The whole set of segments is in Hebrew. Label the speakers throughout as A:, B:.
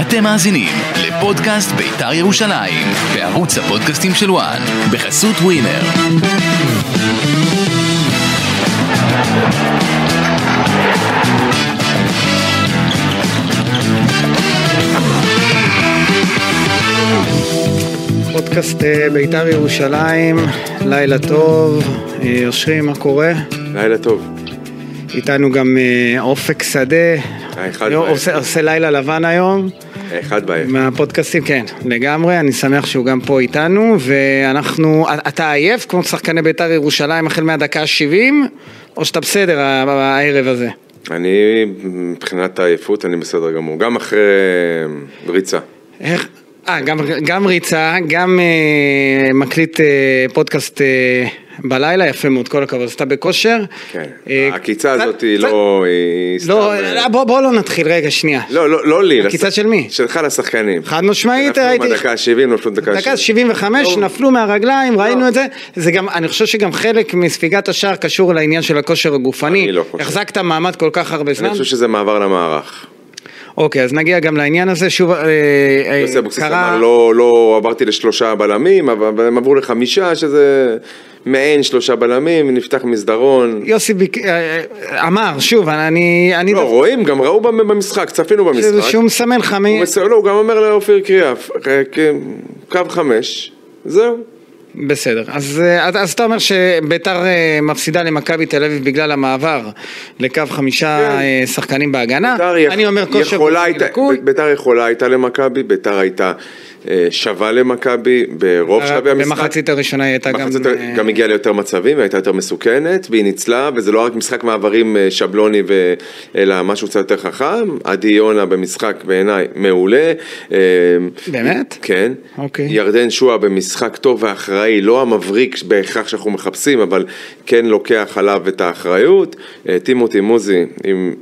A: אתם מאזינים לפודקאסט בית"ר ירושלים, בערוץ הפודקאסטים של וואן, בחסות ווינר.
B: פודקאסט אה, בית"ר ירושלים, לילה טוב, אה, אושרי, מה קורה?
C: לילה טוב.
B: איתנו גם אה, אופק שדה,
C: האחד
B: יו,
C: והאחד.
B: עושה, עושה לילה לבן היום,
C: אחד בעיה.
B: מהפודקאסטים, כן, לגמרי, אני שמח שהוא גם פה איתנו, ואנחנו, אתה עייף כמו שחקני בית"ר ירושלים החל מהדקה ה-70, או שאתה בסדר ה- ה- הערב הזה?
C: אני, מבחינת העייפות, אני בסדר גמור. גם אחרי אמ, ריצה.
B: איך? אה, גם, גם ריצה, גם אה, מקליט אה, פודקאסט אה, בלילה, יפה מאוד, כל הכבוד, אז אתה בכושר.
C: כן.
B: אה,
C: העקיצה
B: קצת-
C: הזאת היא
B: קצת-
C: לא... היא סתם,
B: לא,
C: אה,
B: אה, בוא, בוא לא נתחיל, רגע, שנייה.
C: לא, לא, לא לי.
B: עקיצה
C: לש-
B: של מי?
C: שלך לשחקנים.
B: חד משמעית, הייתי...
C: הייתי... נפלו בדקה לא ה-70, נפלו בדקה ה-70.
B: דקה 75,
C: לא.
B: נפלו מהרגליים, ראינו
C: לא.
B: את זה. זה גם, אני חושב שגם חלק מספיגת השער קשור לעניין של הכושר הגופני.
C: אני לא חושב.
B: החזקת מעמד כל כך הרבה זמן.
C: אני חושב שזה מעבר למערך.
B: אוקיי, אז נגיע גם לעניין הזה. שוב, אה, אה,
C: יוסי אבוקסיס
B: קרה...
C: אמר, לא, לא עברתי לשלושה בלמים, אבל אבל הם עברו לחמישה, שזה מעין שלושה בלמים, נפתח מסדרון.
B: יוסי ביק- אה, אה, אמר, שוב, אני... אני
C: לא,
B: דווקא-
C: רואים, גם ראו במשחק, צפינו
B: שזה
C: במשחק.
B: שהוא מסמן
C: הוא
B: חמש...
C: מסיים, לא, הוא גם אומר לאופיר קריאף, אה, כ- קו חמש, זהו.
B: בסדר. אז, אה, אז, אז אתה אומר שביתר אה, מפסידה למכבי תל אביב בגלל המעבר לקו חמישה
C: כן.
B: אה, שחקנים בהגנה.
C: ביתר יכ-
B: אני אומר כושר
C: יכולה
B: גופני
C: הייתה-
B: לקוי.
C: ב- ביתר יכולה הייתה למכבי, ביתר הייתה אה, שווה למכבי ברוב שלבי המשחק.
B: אה, במחצית הראשונה היא הייתה גם...
C: מחצית
B: אה,
C: גם הגיעה ליותר מצבים, והייתה יותר מסוכנת, והיא ניצלה, וזה לא רק משחק מעברים אה, שבלוני, ו... אלא משהו קצת יותר חכם. עדי יונה במשחק בעיניי מעולה. אה,
B: באמת?
C: כן.
B: אוקיי.
C: ירדן שואה במשחק טוב ואחראי, לא המבריק בהכרח שאנחנו מחפשים, אבל כן לוקח עליו את האחריות. אה, טימותי מוזי, אם...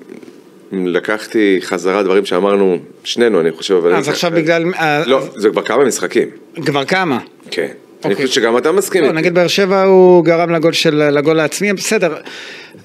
C: אם לקחתי חזרה דברים שאמרנו, שנינו אני חושב, אבל...
B: אה, אז
C: אני-
B: עכשיו בגלל...
C: כן, לא,
B: אז-
C: זה כבר כמה משחקים,
B: כבר כמה?
C: כן. אני
B: אוקיי.
C: חושב שגם אתה מסכים
B: לא,
C: איתי.
B: נגד באר שבע הוא גרם לגול של... לגול העצמי, בסדר.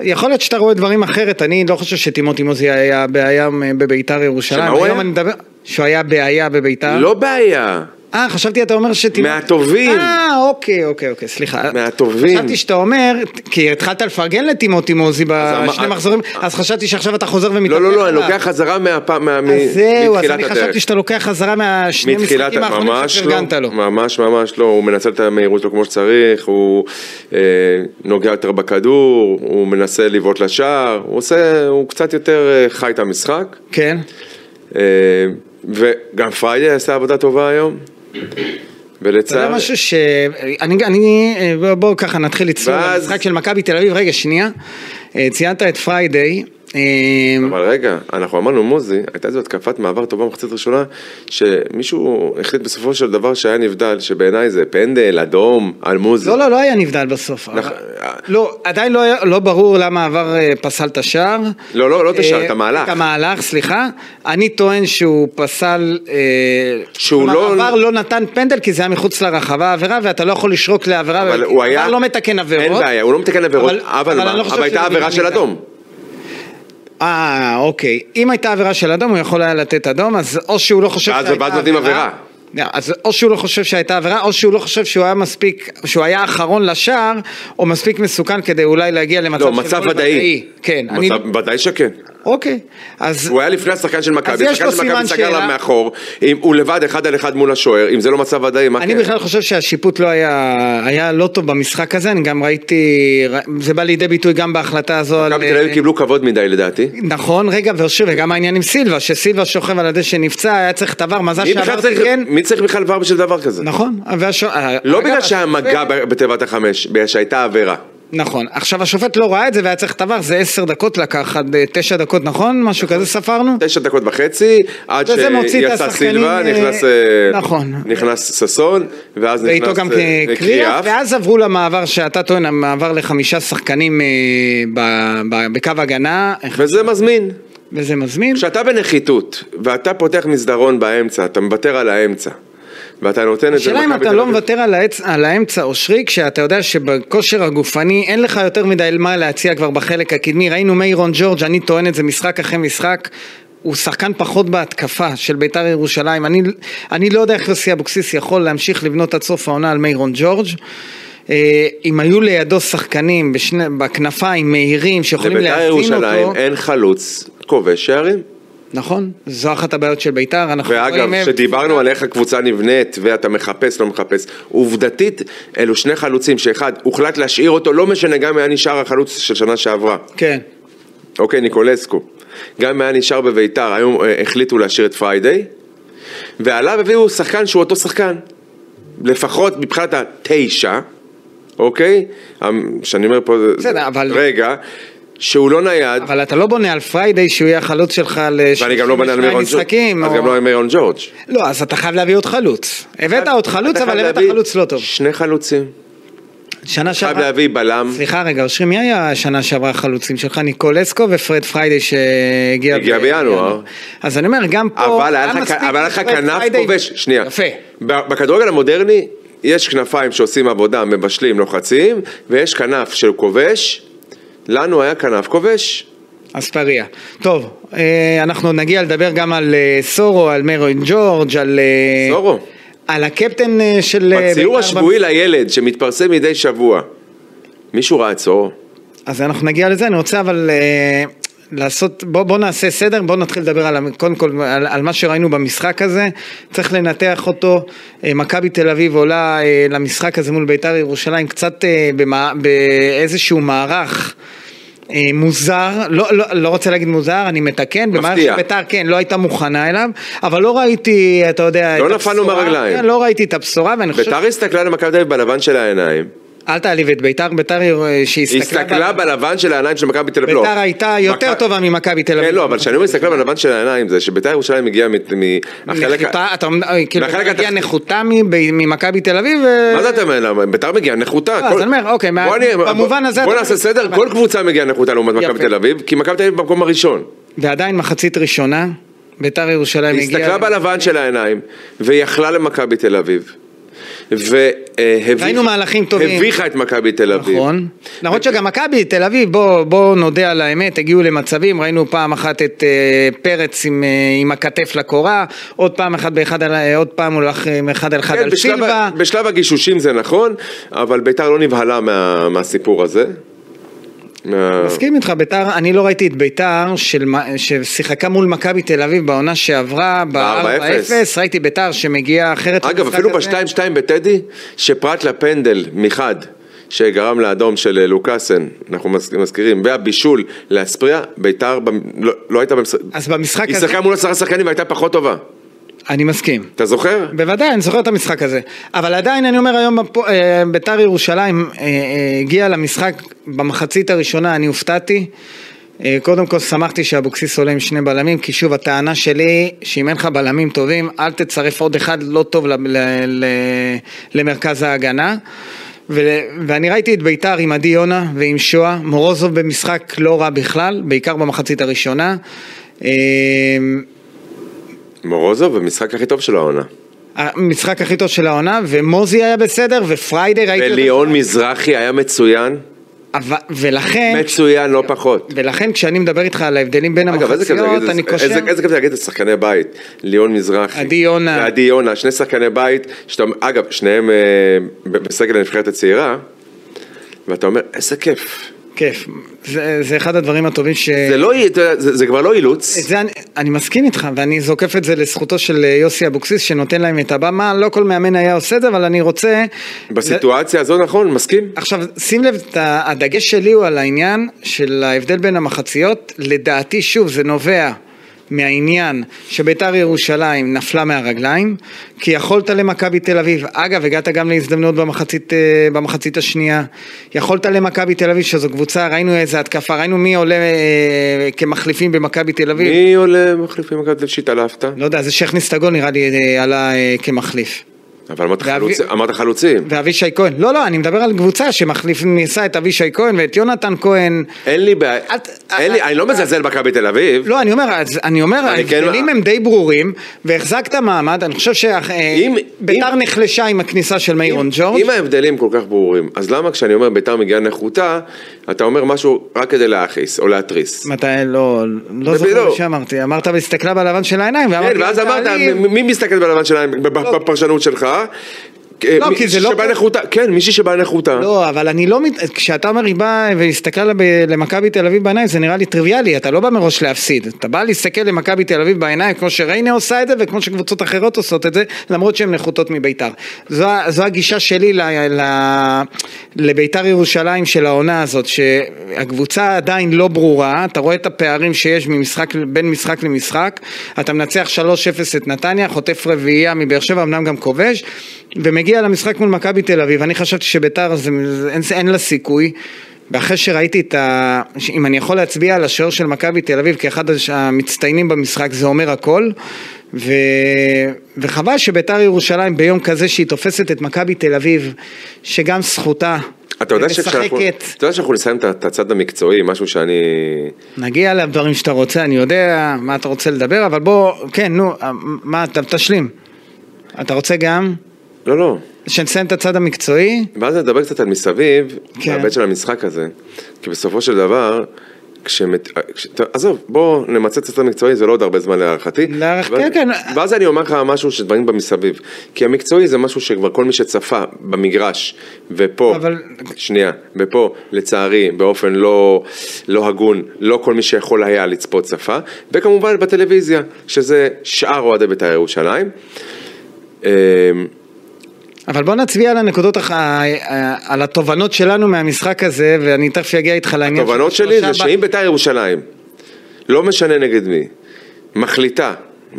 B: יכול להיות שאתה רואה דברים אחרת, אני לא חושב שטימותי מוזי היה בעיה אה, בביתר ירושלים.
C: שמה הוא
B: היום
C: היה?
B: אני מדבר... שהוא היה בעיה בביתר.
C: לא בעיה.
B: אה, חשבתי אתה אומר שתימ...
C: מהטובים.
B: אה, אוקיי, אוקיי, אוקיי, סליחה.
C: מהטובים.
B: חשבתי שאתה אומר, כי התחלת לפרגן לטימותי מוזי
C: אז
B: בשני
C: אמר- אה,
B: מחזורים, אז חשבתי שעכשיו אתה חוזר ומתהפך
C: לא, לא, לא, אני
B: עליו.
C: לוקח חזרה מהפעם, מה- מ-
B: אז זהו, אז
C: מתחילת
B: אני
C: הדרך.
B: חשבתי שאתה לוקח חזרה מהשני
C: מתחילת,
B: המשחקים האחרונים
C: ממש
B: שפרגנת
C: לא,
B: לו.
C: ממש ממש לא, הוא מנצל את המהירות שלו כמו שצריך, הוא אה, נוגע יותר בכדור, הוא מנסה לבעוט לשער, הוא עושה, הוא קצת יותר אה, חי את המשחק,
B: כן.
C: אה, וגם פריידי עשה עבודה טובה היום,
B: זה
C: ולצער,
B: משהו ש... אני, אני... בואו בוא, ככה נתחיל לצלול
C: ואז-
B: למשחק של מכבי תל אביב. רגע, שנייה. אה, ציינת את פריידיי. אה,
C: אבל רגע, אנחנו אמרנו מוזי, הייתה זו התקפת מעבר טובה במחצית ראשונה, שמישהו החליט בסופו של דבר שהיה נבדל, שבעיניי זה פנדל, אדום, על מוזי.
B: לא, לא, לא היה נבדל בסוף.
C: נכ-
B: לא, עדיין לא היה- לא ברור למה עבר אה, פסל את השער.
C: לא, לא, לא את השער,
B: אה,
C: את המהלך.
B: את המהלך, סליחה. אני טוען שהוא פסל... אה,
C: שהוא
B: כלומר,
C: לא-
B: עבר לא נתן פנדל כי זה היה מחוץ לרחבה העבירה, ואתה לא יכול לשרוק לעבירה.
C: אבל
B: וכי
C: הוא היה...
B: עבר לא מתקן עבירות.
C: אין בעיה, הוא לא מתקן עבירות,
B: אבל-
C: אבל
B: אבל אני
C: מה?
B: לא חושב
C: אבל הייתה
B: שזה
C: עבירה של
B: בגלל
C: אדום.
B: אה, אוקיי. אם הייתה עבירה של אדום, הוא יכול היה לתת אדום, אז או שהוא לא חושב
C: ואז-
B: שהייתה
C: ואז נותנים
B: לא, אז או שהוא לא חושב שהייתה עבירה, או שהוא לא חושב שהוא היה מספיק, שהוא היה האחרון לשער, או מספיק מסוכן כדי אולי להגיע למצב
C: לא,
B: של
C: מצב
B: גול
C: ודאי.
B: כן, אני...
C: מצב- ודאי שכן.
B: אוקיי. אז...
C: הוא היה לפני השחקן של מכבי,
B: יש
C: השחקן
B: לו
C: של מכבי
B: סימן
C: סגר
B: שאלה.
C: עליו מאחור, אם הוא לבד אחד על אחד מול השוער, אם זה לא מצב ודאי, מה
B: אני
C: כן?
B: בכלל חושב שהשיפוט לא היה, היה לא טוב במשחק הזה, אני גם ראיתי, ר- זה בא לידי ביטוי גם בהחלטה הזו על...
C: מכבי תל אביב קיבלו כבוד מדי לדעתי.
B: נכון, רגע, ושוב, וגם העניין עם סילבה, שסילבה שוכב על הדשא נפצע, היה צריך את עבר, מזל
C: מי בכלל
B: שעבר
C: צריך-
B: תיקן,
C: מי צריך בכלל בר בשביל דבר כזה?
B: כן. נכון, והש...
C: לא בגלל שהיה מגע ב- בתיבת החמש, בגלל שהייתה עבירה.
B: נכון, עכשיו השופט לא ראה את זה והיה צריך טווח, זה עשר דקות לקח, עד אה, תשע דקות, נכון? משהו כזה ספרנו?
C: תשע דקות וחצי, עד
B: וזה מוציא את
C: שיצא
B: השחקנים,
C: סילבה,
B: אה,
C: נכנס, אה,
B: נכון.
C: נכנס ששון, ואז נכנס
B: ואיתו גם
C: אה,
B: קריאף, ואז עברו למעבר שאתה טוען, המעבר לחמישה שחקנים אה, ב- ב- בקו הגנה,
C: וזה מזמין.
B: וזה מזמין.
C: כשאתה בנחיתות, ואתה פותח מסדרון באמצע, אתה מוותר על האמצע, ואתה נותן את זה...
B: השאלה אם
C: למכבי
B: אתה
C: תל
B: לא
C: אביב.
B: מוותר על העצ- על האמצע אושרי, כשאתה יודע שבכושר הגופני אין לך יותר מדי מה להציע כבר בחלק הקדמי. ראינו מיירון ג'ורג', אני טוען את זה משחק אחרי משחק. הוא שחקן פחות בהתקפה של ביתר ירושלים. אני, אני לא יודע איך יוסי אבוקסיס יכול להמשיך לבנות עד סוף העונה על מיירון ג'ורג'. אה, אם היו לידו שחקנים בשני, בכנפיים מהירים שיכולים
C: לביתר
B: להעצים אותו...
C: ירושלים אין חלוץ כובש שערים.
B: נכון, זו אחת הבעיות של ביתר, אנחנו
C: ואגב,
B: רואים-
C: כשדיברנו על איך הקבוצה נבנית ואתה מחפש, לא מחפש, עובדתית, אלו שני חלוצים שאחד, הוחלט להשאיר אותו, לא משנה גם אם היה נשאר החלוץ של שנה שעברה.
B: כן,
C: אוקיי, ניקולסקו. גם אם היה נשאר בביתר, היום אה, החליטו להשאיר את פריידי, ועליו הביאו שחקן שהוא אותו שחקן. לפחות מבחינת התשע, אוקיי? המ- שאני אומר פה...
B: בסדר, אבל-
C: רגע, שהוא לא נייד,
B: אבל אתה לא בונה על פריידי שהוא יהיה החלוץ שלך ל-32
C: ואני גם לא בנה על מירון ג'ורג'.
B: משחקים.
C: אז
B: או-
C: גם לא עם מירון ג'ורג'.
B: לא, אז אתה חייב להביא עוד חלוץ. הבאת עוד חלוץ,
C: אתה
B: אבל
C: חייב
B: הבאת
C: להביא
B: חלוץ לא טוב.
C: שני חלוצים.
B: שנה
C: חייב
B: שעברה...
C: להביא בלם.
B: סליחה רגע, אושרי, מי היה שנה שעברה החלוצים שלך? ניקולסקו ופרד פריידי שהגיע
C: הגיע בינואר.
B: אז אני אומר, גם פה...
C: אבל היה
B: היה
C: לך-
B: מספיק
C: אבל היה לך
B: פרד
C: כנף
B: פריידי-
C: כובש, שנייה.
B: יפה.
C: ב- בכדורגל המודרני יש כנפיים שעושים עבודה, מבשלים, לוחצים, ויש כנף של כובש. לנו היה כנף כובש.
B: אספריה. טוב, אה, אנחנו עוד נגיע לדבר גם על אה, סורו, על מרון ג'ורג', על... אה,
C: סורו.
B: על הקפטן אה, של... אה,
C: בציור
B: בית"ר
C: השבועי לילד שמתפרסם מדי שבוע. מישהו ראה את סורו?
B: אז אנחנו נגיע לזה, אני רוצה אבל אה, לעשות, בוא, בוא נעשה סדר, בוא נתחיל לדבר על, ה- קודם כל על, על מה שראינו במשחק הזה, צריך לנתח אותו, אה, מכבי תל אביב עולה אה, למשחק הזה מול בית"ר ירושלים קצת אה, במה, באיזשהו מערך. אה, מוזר, לא, לא, לא רוצה להגיד מוזר, אני מתקן, במערכת
C: מפתיע.
B: שביתר כן, לא הייתה מוכנה אליו, אבל לא ראיתי, אתה יודע,
C: לא
B: את
C: נפלנו
B: הבשורה.
C: מהרגליים.
B: כן, לא ראיתי את הבשורה, ואני חושב,
C: ביתר הסתכלה למכבי תל אביב בלבן של העיניים.
B: אל תעליב את ביתר, ביתר אה,
C: היא
B: שהסתכלה,
C: הסתכלה בלבן של העיניים של מכבי תל אביב. לא.
B: ביתר הייתה יותר
C: מכבי-
B: טובה ממכבי תל אביב.
C: כן, לא, אבל כשאני מסתכל בלבן של העיניים זה שביתר ירושלים הגיעה מת- מהחלק... ה-
B: נחותה, אתה אומר, אוי, כאילו,
C: מהחלק
B: הגיעה
C: התחתי.
B: נחותה מב- ממכבי תל אביב, אה, ו-
C: מה זה אתה אומר? למה? ביתר מגיעה נחותה.
B: אז אני אומר, אוקיי, מה-
C: בוא אני-
B: במובן הזה
C: בוא
B: אתה-
C: נעשה סדר, כל קבוצה מגיעה נחותה לעומת
B: יפה.
C: מכבי תל אביב, כי מכבי תל אביב במקום הראשון.
B: ועדיין מחצית ראשונה, ביתר ירושלים
C: היא
B: הגיעה,
C: הסתכלה בלבן של העיניים, והיא יכלה למכבי תל אביב. והביכה...
B: ראינו מהלכים טובים.
C: הביכה את מכבי תל אביב.
B: נכון, למרות שגם מכבי תל אביב, בוא- בוא נודה על האמת, הגיעו למצבים, ראינו פעם אחת את אה, פרץ עם, אה, עם הכתף לקורה, עוד פעם אחת באחד על, אה, עוד פעם הוא הלך עם אחד על אחד
C: כן,
B: על
C: בשלב
B: סילבה,
C: ה- בשלב הגישושים זה נכון, אבל ביתר לא נבהלה מה- מהסיפור הזה. מה-
B: מסכים איתך, ביתר, אני לא ראיתי את ביתר של, מ- ששיחקה מול מכבי תל אביב בעונה שעברה, ב-4-0,
C: ב-4-0.
B: ראיתי ביתר שמגיעה אחרת.
C: אגב,
B: למשחק
C: אפילו
B: הזה.
C: ב-2-2 בטדי, שפרט לפנדל מחד, שגרם לאדום של אה, לוקאסן, אנחנו מז- מזכירים, והבישול לאספריה, ביתר במ- לא- לא הייתה במשחק,
B: אז במשחק
C: היא
B: הזה,
C: שיחקה מול עשרה שחקנים והייתה פחות טובה.
B: אני מסכים.
C: אתה זוכר?
B: בוודאי, אני זוכר את המשחק הזה. אבל עדיין, אני אומר היום, בפו- אה, ביתר ירושלים אה, אה, הגיעה למשחק במחצית הראשונה, אני הופתעתי. אה, קודם כל שמחתי שאבוקסיס עולה עם שני בלמים, כי שוב, הטענה שלי, שאם אין לך בלמים טובים, אל תצרף עוד אחד לא טוב ל- ל- ל- למרכז ההגנה. ו- ואני ראיתי את ביתר עם עדי יונה ועם שואה, מורוזוב במשחק לא רע בכלל, בעיקר במחצית הראשונה. אה,
C: מורוזוב, המשחק הכי טוב של העונה.
B: המשחק הכי טוב של העונה, ומוזי היה בסדר, ופריידי ראיתי אותו.
C: וליאון מזרחי היה מצוין,
B: אבל- ולכן,
C: מצוין לא פחות.
B: ולכן כשאני מדבר איתך על ההבדלים בין
C: אגב, איזה כיף זה
B: המחציות,
C: להגיד
B: אני
C: את זה-
B: קושר...
C: איזה- איזה כיף זה להגיד את זה, שחקני בית, ליאון מזרחי.
B: עדי יונה.
C: ועדי יונה, שני שחקני בית, שאתה, אגב, שניהם אה, ב- בסגל הנבחרת הצעירה, ואתה אומר, איזה כיף.
B: כיף. זה, זה אחד הדברים הטובים ש...
C: זה לא, אתה יודע, זה זה כבר לא אילוץ.
B: את זה אני, אני מסכים איתך, ואני זוקף את זה לזכותו של אה, יוסי אבוקסיס, שנותן להם את הבמה. לא כל מאמן היה עושה את זה, אבל אני רוצה...
C: בסיטואציה הזו נכון, מסכים?
B: עכשיו, שים לב, את ה- הדגש שלי הוא על העניין של ההבדל בין המחציות. לדעתי, שוב, זה נובע מהעניין שביתר ירושלים נפלה מהרגליים, כי יכולת למכבי תל אביב, אגב, הגעת גם להזדמנות במחצית, אה, במחצית השנייה, יכולת למכבי תל אביב, שזו קבוצה, ראינו איזה התקפה, ראינו מי עולה אה, כמחליפים במכבי תל אביב.
C: מי עולה מחליפים מכבי תל אביב שהתעלפת?
B: לא יודע, זה שהכניס את הגול נראה לי אה, עלה אה, כמחליף.
C: אבל אמרת
B: ואבי-
C: חלוצ- אמרת חלוצים.
B: ואבישי כהן. לא, לא, אני מדבר על קבוצה שמכניסה את אבישי כהן ואת יונתן כהן.
C: אין לי בעיה,
B: את-
C: אין לי- אני לא מזלזל במכבי תל אביב.
B: אה, לא, אני אומר, אז אני אומר,
C: אני כן-
B: ההבדלים הם די ברורים, והחזקת מעמד, אני חושב
C: אם-
B: שביתר
C: אם-
B: נחלשה עם הכניסה של מאירון ג'ורג'.
C: אם ההבדלים כל כך ברורים, אז למה כשאני אומר ביתר מגיעה נחותה, אתה אומר משהו רק כדי להכעיס או להתריס?
B: מתי, לא, לא
C: זה
B: זוכר מה
C: בדיוק.
B: שאמרתי, אמרת והסתכלה בלבן של העיניים, ואמרתי,
C: כן, ואז
B: "אל
C: אמרת,
B: תעליב".
C: מ- מי מסתכל בלבן שלהם בפרשנות שלך?
B: לא, כי זה לא-
C: שבא נחותה, כן, מישהי שבאה נחותה.
B: לא, אבל אני לא, מת- כשאתה אומר היא באה והסתכלה לה ב- למכבי תל אביב בעיניים, זה נראה לי טריוויאלי, אתה לא בא מראש להפסיד. אתה בא להסתכל למכבי תל אביב בעיניים, כמו שריינה עושה את זה, וכמו שקבוצות אחרות עושות את זה, למרות שהן נחותות מביתר. זו, ה- זו הגישה שלי ל, ל, לביתר ירושלים של העונה הזאת, שהקבוצה עדיין לא ברורה, אתה רואה את הפערים שיש ממשחק, בין משחק למשחק, אתה מנצח 3-0 את נתניה, חוטף רביעייה מבאר שבע, אמנם גם כובש, ומגיע למשחק מול מכבי תל אביב, אני חשבתי שביתר זה, זה, אין, אין לה סיכוי. ואחרי שראיתי את ה... אם אני יכול להצביע על השוער של מכבי תל אביב כאחד הש- המצטיינים במשחק, זה אומר הכל. ו... וחבל שביתר ירושלים ביום כזה שהיא תופסת את מכבי תל אביב, שגם זכותה,
C: אתה יודע
B: ומשחקת.
C: שכשאנחנו אתה יודע שאנחנו נסיים את- את הצד המקצועי, משהו שאני...
B: נגיע לדברים שאתה רוצה, אני יודע מה אתה רוצה לדבר, אבל בוא, כן, נו, מה, אתה תשלים. אתה רוצה גם
C: לא, לא.
B: שנסיים את הצד המקצועי?
C: ואז נדבר קצת על מסביב,
B: כן.
C: כן. בהיבט של המשחק הזה. כי בסופו של דבר, כשמת... כש... ת- עזוב, בוא נמצה את הצד המקצועי, זה לא עוד הרבה זמן להערכתי.
B: להערכ-
C: ואז-
B: כן, כן.
C: ואז אני אומר לך משהו שדברים במסביב. כי המקצועי זה משהו שכבר כל מי שצפה במגרש, ופה,
B: אבל-
C: שנייה, ופה, לצערי, באופן לא, לא הגון, לא כל מי שיכול היה לצפות צפה, וכמובן בטלוויזיה, שזה שאר אוהדי בית"ר ירושלים. אמ,
B: אבל בוא נצביע על הנקודות, הח- ה- ה- על התובנות שלנו מהמשחק הזה, ואני תכף אגיע איתך לעניין. של
C: התובנות שלי זה
B: שלושה ב-
C: שאם בית"ר ירושלים, לא משנה נגד מי, מחליטה,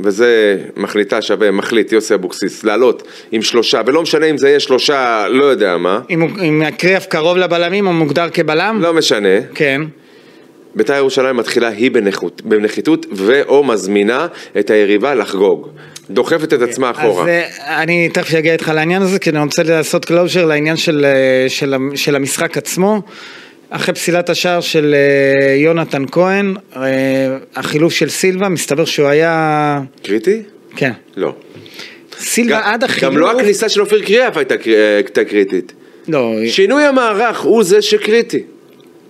C: וזה מחליטה שווה, מחליט יוסי אבוקסיס, לעלות עם שלושה, ולא משנה אם זה יהיה שלושה, לא יודע מה,
B: אם הוא- אם הקריאף קרוב לבלמים, הוא מוגדר כבלם?
C: לא משנה,
B: כן.
C: בית"ר ירושלים מתחילה היא בנחות, בנחיתות ואו מזמינה את היריבה לחגוג, דוחפת את עצמה אחורה.
B: אז אה, אני תכף אגיע איתך לעניין הזה, כי אני רוצה לעשות קלוז'ר לעניין של, אה, של, המ- של המשחק עצמו. אחרי פסילת השער של אה, יונתן כהן, אה, החילוף של סילבה, מסתבר שהוא היה...
C: קריטי?
B: כן.
C: לא.
B: סילבה
C: גם-
B: עד החילוף...
C: גם לא הכניסה של אופיר קריאף הייתה קר- הייתה קריטית.
B: לא,
C: שינוי המערך הוא זה שקריטי.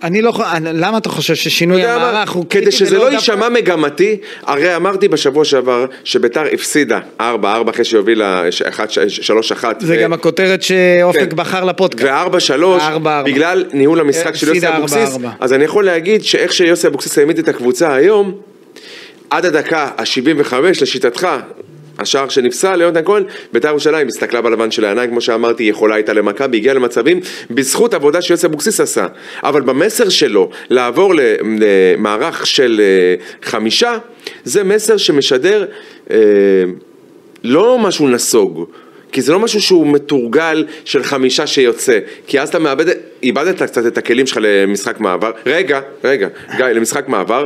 B: אני לא... חו- אני- למה אתה חושב ששינוי
C: יודע מה?
B: המערך הוא
C: כדי
B: קריטי
C: שזה
B: ולא
C: לא
B: דווקא?
C: יישמע מגמתי, הרי אמרתי בשבוע שעבר שביתר הפסידה 4-4 אחרי שהובילה 3-1.
B: זה גם הכותרת שאופק
C: אה, כן.
B: בחר לפודקאסט.
C: ו-4-3,
B: 4-4.
C: בגלל ניהול המשחק של יוסי
B: הפסידה
C: אבוקסיס,
B: 4-4.
C: אז אני יכול להגיד שאיך שיוסי אבוקסיס העמיד את הקבוצה היום, עד הדקה ה-75 לשיטתך, השער שנפסל ליונתן כהן, בית"ר ירושלים הסתכלה בלבן של העיניים, כמו שאמרתי, יכולה הייתה למכבי, הגיעה למצבים בזכות עבודה שיוסי אבוקסיס עשה. אבל במסר שלו, לעבור ל- למערך של אה, חמישה, זה מסר שמשדר אה, לא משהו נסוג. כי זה לא משהו שהוא מתורגל של חמישה שיוצא, כי אז אתה מאבד, איבדת קצת את הכלים שלך למשחק מעבר, רגע, רגע, גיא, למשחק
B: עד-
C: מעבר,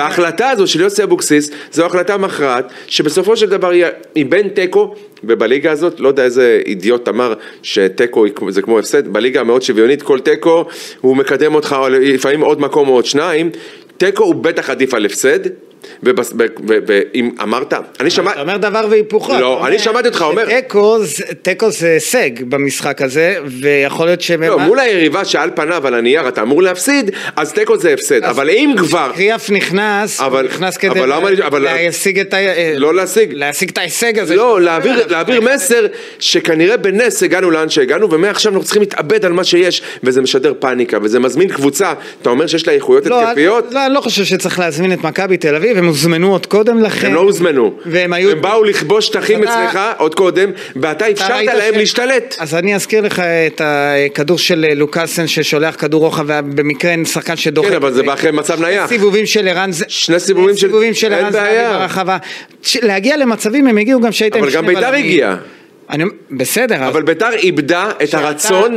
C: וההחלטה ההחלטה הזו של יוסי אבוקסיס זו החלטה מכרעת שבסופו של דבר היא- היא בין תיקו ובליגה הזאת לא יודע איזה אידיוט אמר שתיקו היא כמו- זה כמו הפסד בליגה המאוד שוויונית כל תיקו הוא מקדם אותך או לפעמים עוד מקום או עוד שניים תיקו הוא בטח עדיף על הפסד ואם אמרת אני
B: אתה
C: שמעתי
B: אומר דבר והיפוכו.
C: לא,
B: אתה
C: אני שמעתי אותך אומר-
B: שתיקו זה- תיקו זה הישג במשחק הזה, ויכול להיות ש...
C: לא, מול היריבה שעל פניו על הנייר אתה אמור להפסיד אז תיקו זה הפסד
B: אז-
C: אבל אם כבר
B: קריאף נכנס, הוא
C: אבל-
B: נכנס
C: אבל
B: כדי
C: למה אני- אבל-
B: להשיג את ה...
C: לא להשיג.
B: להשיג את ההישג הזה.
C: לא, להעביר, להעביר מסר שכנראה בנס הגענו לאן שהגענו ומעכשיו אנחנו צריכים להתאבד על מה שיש וזה משדר פאניקה וזה מזמין קבוצה, אתה אומר שיש לה איכויות
B: לא,
C: התקפיות?
B: אני- לא, אני לא חושב שצריך להזמין את מכבי תל אביב, הם הוזמנו עוד קודם לכן.
C: הם לא הוזמנו,
B: אה, והם היו-
C: הם באו לכבוש שטחים
B: אתה-
C: אצלך עוד קודם ואתה
B: אתה
C: אפשרת
B: ראית
C: להם
B: ש-
C: להשתלט.
B: אז אני אזכיר לך את הכדור של אה, לוקאסן ששולח כדור רוחב, ובמקרה אין שחקן שדוחק. אה,
C: כן, אבל זה אחרי מצב נייח.
B: סיבובים של ערן ז-
C: שני סיבובים של-
B: סיבובים של
C: אין
B: ערן זהבי
C: בעיה.
B: ברחבה. ש- להגיע למצבים הם הגיעו גם כשהיית עם
C: אבל גם
B: שני
C: ביתר
B: בלמים.
C: הגיעה.
B: אני- בסדר, אבל
C: אבל ביתר איבדה את
B: שאתה- לא.
C: הרצון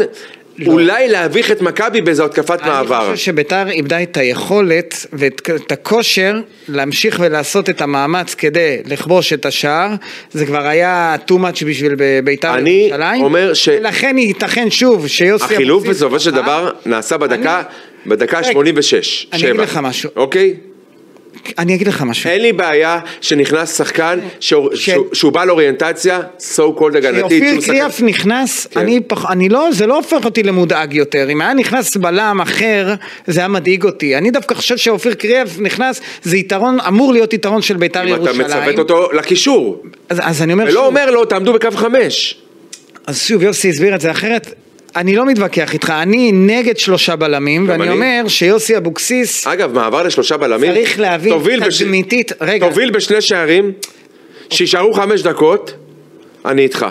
C: אולי להביך את מכבי באיזו התקפת מעבר.
B: אני חושב שביתר איבדה את היכולת ואת את הכושר להמשיך ולעשות את המאמץ כדי לכבוש את השער. זה כבר היה too much בשביל ב- ביתר
C: אני אומר ש-
B: ולכן ייתכן שוב שיוסי
C: החילוף
B: אבוקסיס-
C: בסופו של דבר נעשה בדקה, בדקה
B: אה? רגע,
C: 86,
B: אני
C: 7.
B: אגיד לך משהו.
C: אוקיי?
B: אני אגיד לך משהו.
C: אין לי בעיה שנכנס שחקן שהוא-
B: כן.
C: שהוא- שהוא בעל אוריינטציה, so called הגנתית.
B: כשאופיר
C: שהוא שחקן-
B: קריאף נכנס,
C: כן.
B: אני, פח, אני לא, זה לא הופך אותי למודאג יותר. אם היה נכנס בלם אחר, זה היה מדאיג אותי. אני דווקא חושב שאופיר קריאף נכנס, זה יתרון, אמור להיות יתרון של ביתר
C: אם אתה
B: ירושלים.
C: מצוות אותו לקישור,
B: אז, אז אני אומר,
C: ולא אומר לו תעמדו בקו חמש.
B: אז שוב, יוסי הסביר את זה אחרת. אני לא מתווכח איתך, אני נגד שלושה בלמים,
C: גם
B: ואני
C: אני.
B: אומר שיוסי אבוקסיס
C: אגב, מעבר לשלושה בלמים,
B: צריך להבין
C: תוביל בש-
B: תדמיתית, רגע,
C: תוביל בשני שערים, שישארו חמש דקות, אני איתך.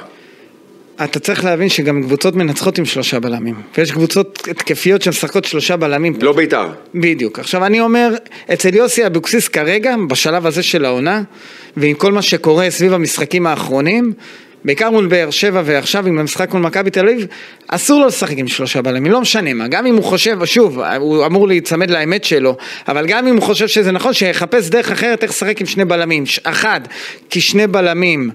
B: אתה צריך להבין שגם קבוצות מנצחות עם שלושה בלמים, ויש קבוצות התקפיות שמשחקות שלושה בלמים.
C: לא בית"ר.
B: בדיוק. עכשיו אני אומר, אצל יוסי אבוקסיס כרגע, בשלב הזה של העונה, ועם כל מה שקורה סביב המשחקים האחרונים, בעיקר מול באר שבע ועכשיו עם המשחק מול מכבי תל אביב, אסור לו לשחק עם שלושה בלמים, לא משנה מה. גם אם הוא חושב, שוב, הוא אמור להיצמד לאמת שלו, אבל גם אם הוא חושב שזה נכון, שיחפש דרך אחרת איך לשחק עם שני בלמים. ש- אחד, כי שני בלמים...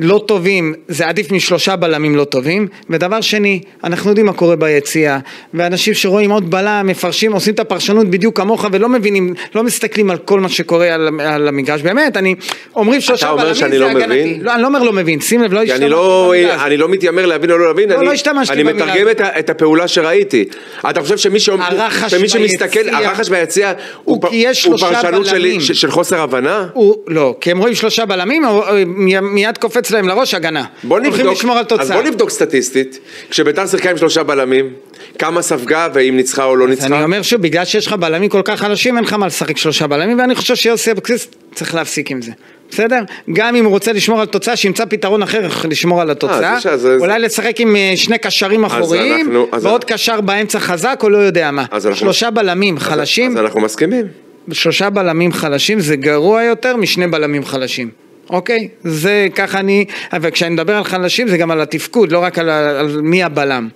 B: לא טובים, זה עדיף משלושה בלמים לא טובים. ודבר שני, אנחנו יודעים מה קורה ביציאה, ואנשים שרואים עוד בלם, מפרשים, עושים את הפרשנות בדיוק כמוך, ולא מבינים, לא מסתכלים על כל מה שקורה על, על המגרש. באמת, אני, אומרים שלושה
C: אומר
B: בלמים
C: שאני
B: זה
C: לא
B: הגנתי.
C: מבין?
B: לא, אני לא אומר לא מבין, שים לב, לא
C: כי
B: השתמשתי
C: אני לא,
B: במילה הזאת.
C: אני לא מתיימר להבין או לא להבין,
B: לא,
C: אני,
B: לא השתמשתי
C: אני
B: במילה
C: מתרגם
B: הזאת.
C: את, ה- את הפעולה שראיתי. אתה חושב שמי, שאומר,
B: הרחש
C: שמי שמסתכל,
B: ביציע-
C: הרחש ביציע,
B: הוא
C: פ-
B: כי יש
C: הוא
B: שלושה
C: פרשנות של,
B: בלמים.
C: של, של חוסר הבנה?
B: הוא, לא, כי הם רואים שלושה בלמים, או- או- מי- מיד קופץ להם לראש הגנה.
C: בוא נבדוק,
B: הולכים לשמור על תוצאה.
C: אז בוא נבדוק סטטיסטית, כשביתר שיחקה עם שלושה בלמים, כמה ספגה ואם ניצחה או לא
B: אז
C: ניצחה?
B: אני אומר שוב, בגלל שיש לך בלמים כל כך חלשים, אין לך מה לשחק שלושה בלמים, ואני חושב שיוסי אבוקסיס צריך להפסיק עם זה. בסדר? גם אם הוא רוצה לשמור על תוצאה, שימצא פתרון אחר איך לשמור על התוצאה.
C: אה, זה ש- זה-
B: אולי לשחק עם אה, שני קשרים אחוריים,
C: אנחנו- אז-
B: ועוד קשר באמצע חזק, או לא יודע מה.
C: אז אנחנו-
B: שלושה בלמים חלשים,
C: אז אנחנו מסכימים.
B: שלושה בלמים חלשים זה גרוע יותר משני בלמים חלשים. אוקיי? זה ככה אני... אבל כשאני מדבר על חלשים זה גם על התפקוד, לא רק על, ה- על מי הבלם.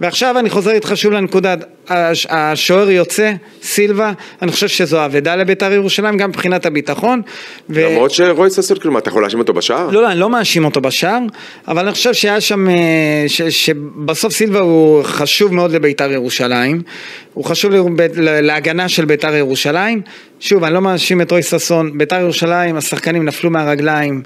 B: ועכשיו אני חוזר איתך שוב לנקודה, הש- השוער יוצא, סילבה, אני חושב שזו אבדה לבית"ר ירושלים, גם מבחינת הביטחון. ו...
C: למרות שרוי ששון, כלומר, אתה יכול להאשים אותו בשער?
B: אה, לא, לא, אני לא מאשים אותו בשער, אבל אני חושב שהיה שם, אה, ש, שבסוף סילבה הוא חשוב מאוד לביתר ירושלים, הוא חשוב לב, ל- להגנה של ביתר ירושלים. שוב, אני לא מאשים את רוי ששון, ביתר ירושלים, השחקנים נפלו מהרגליים.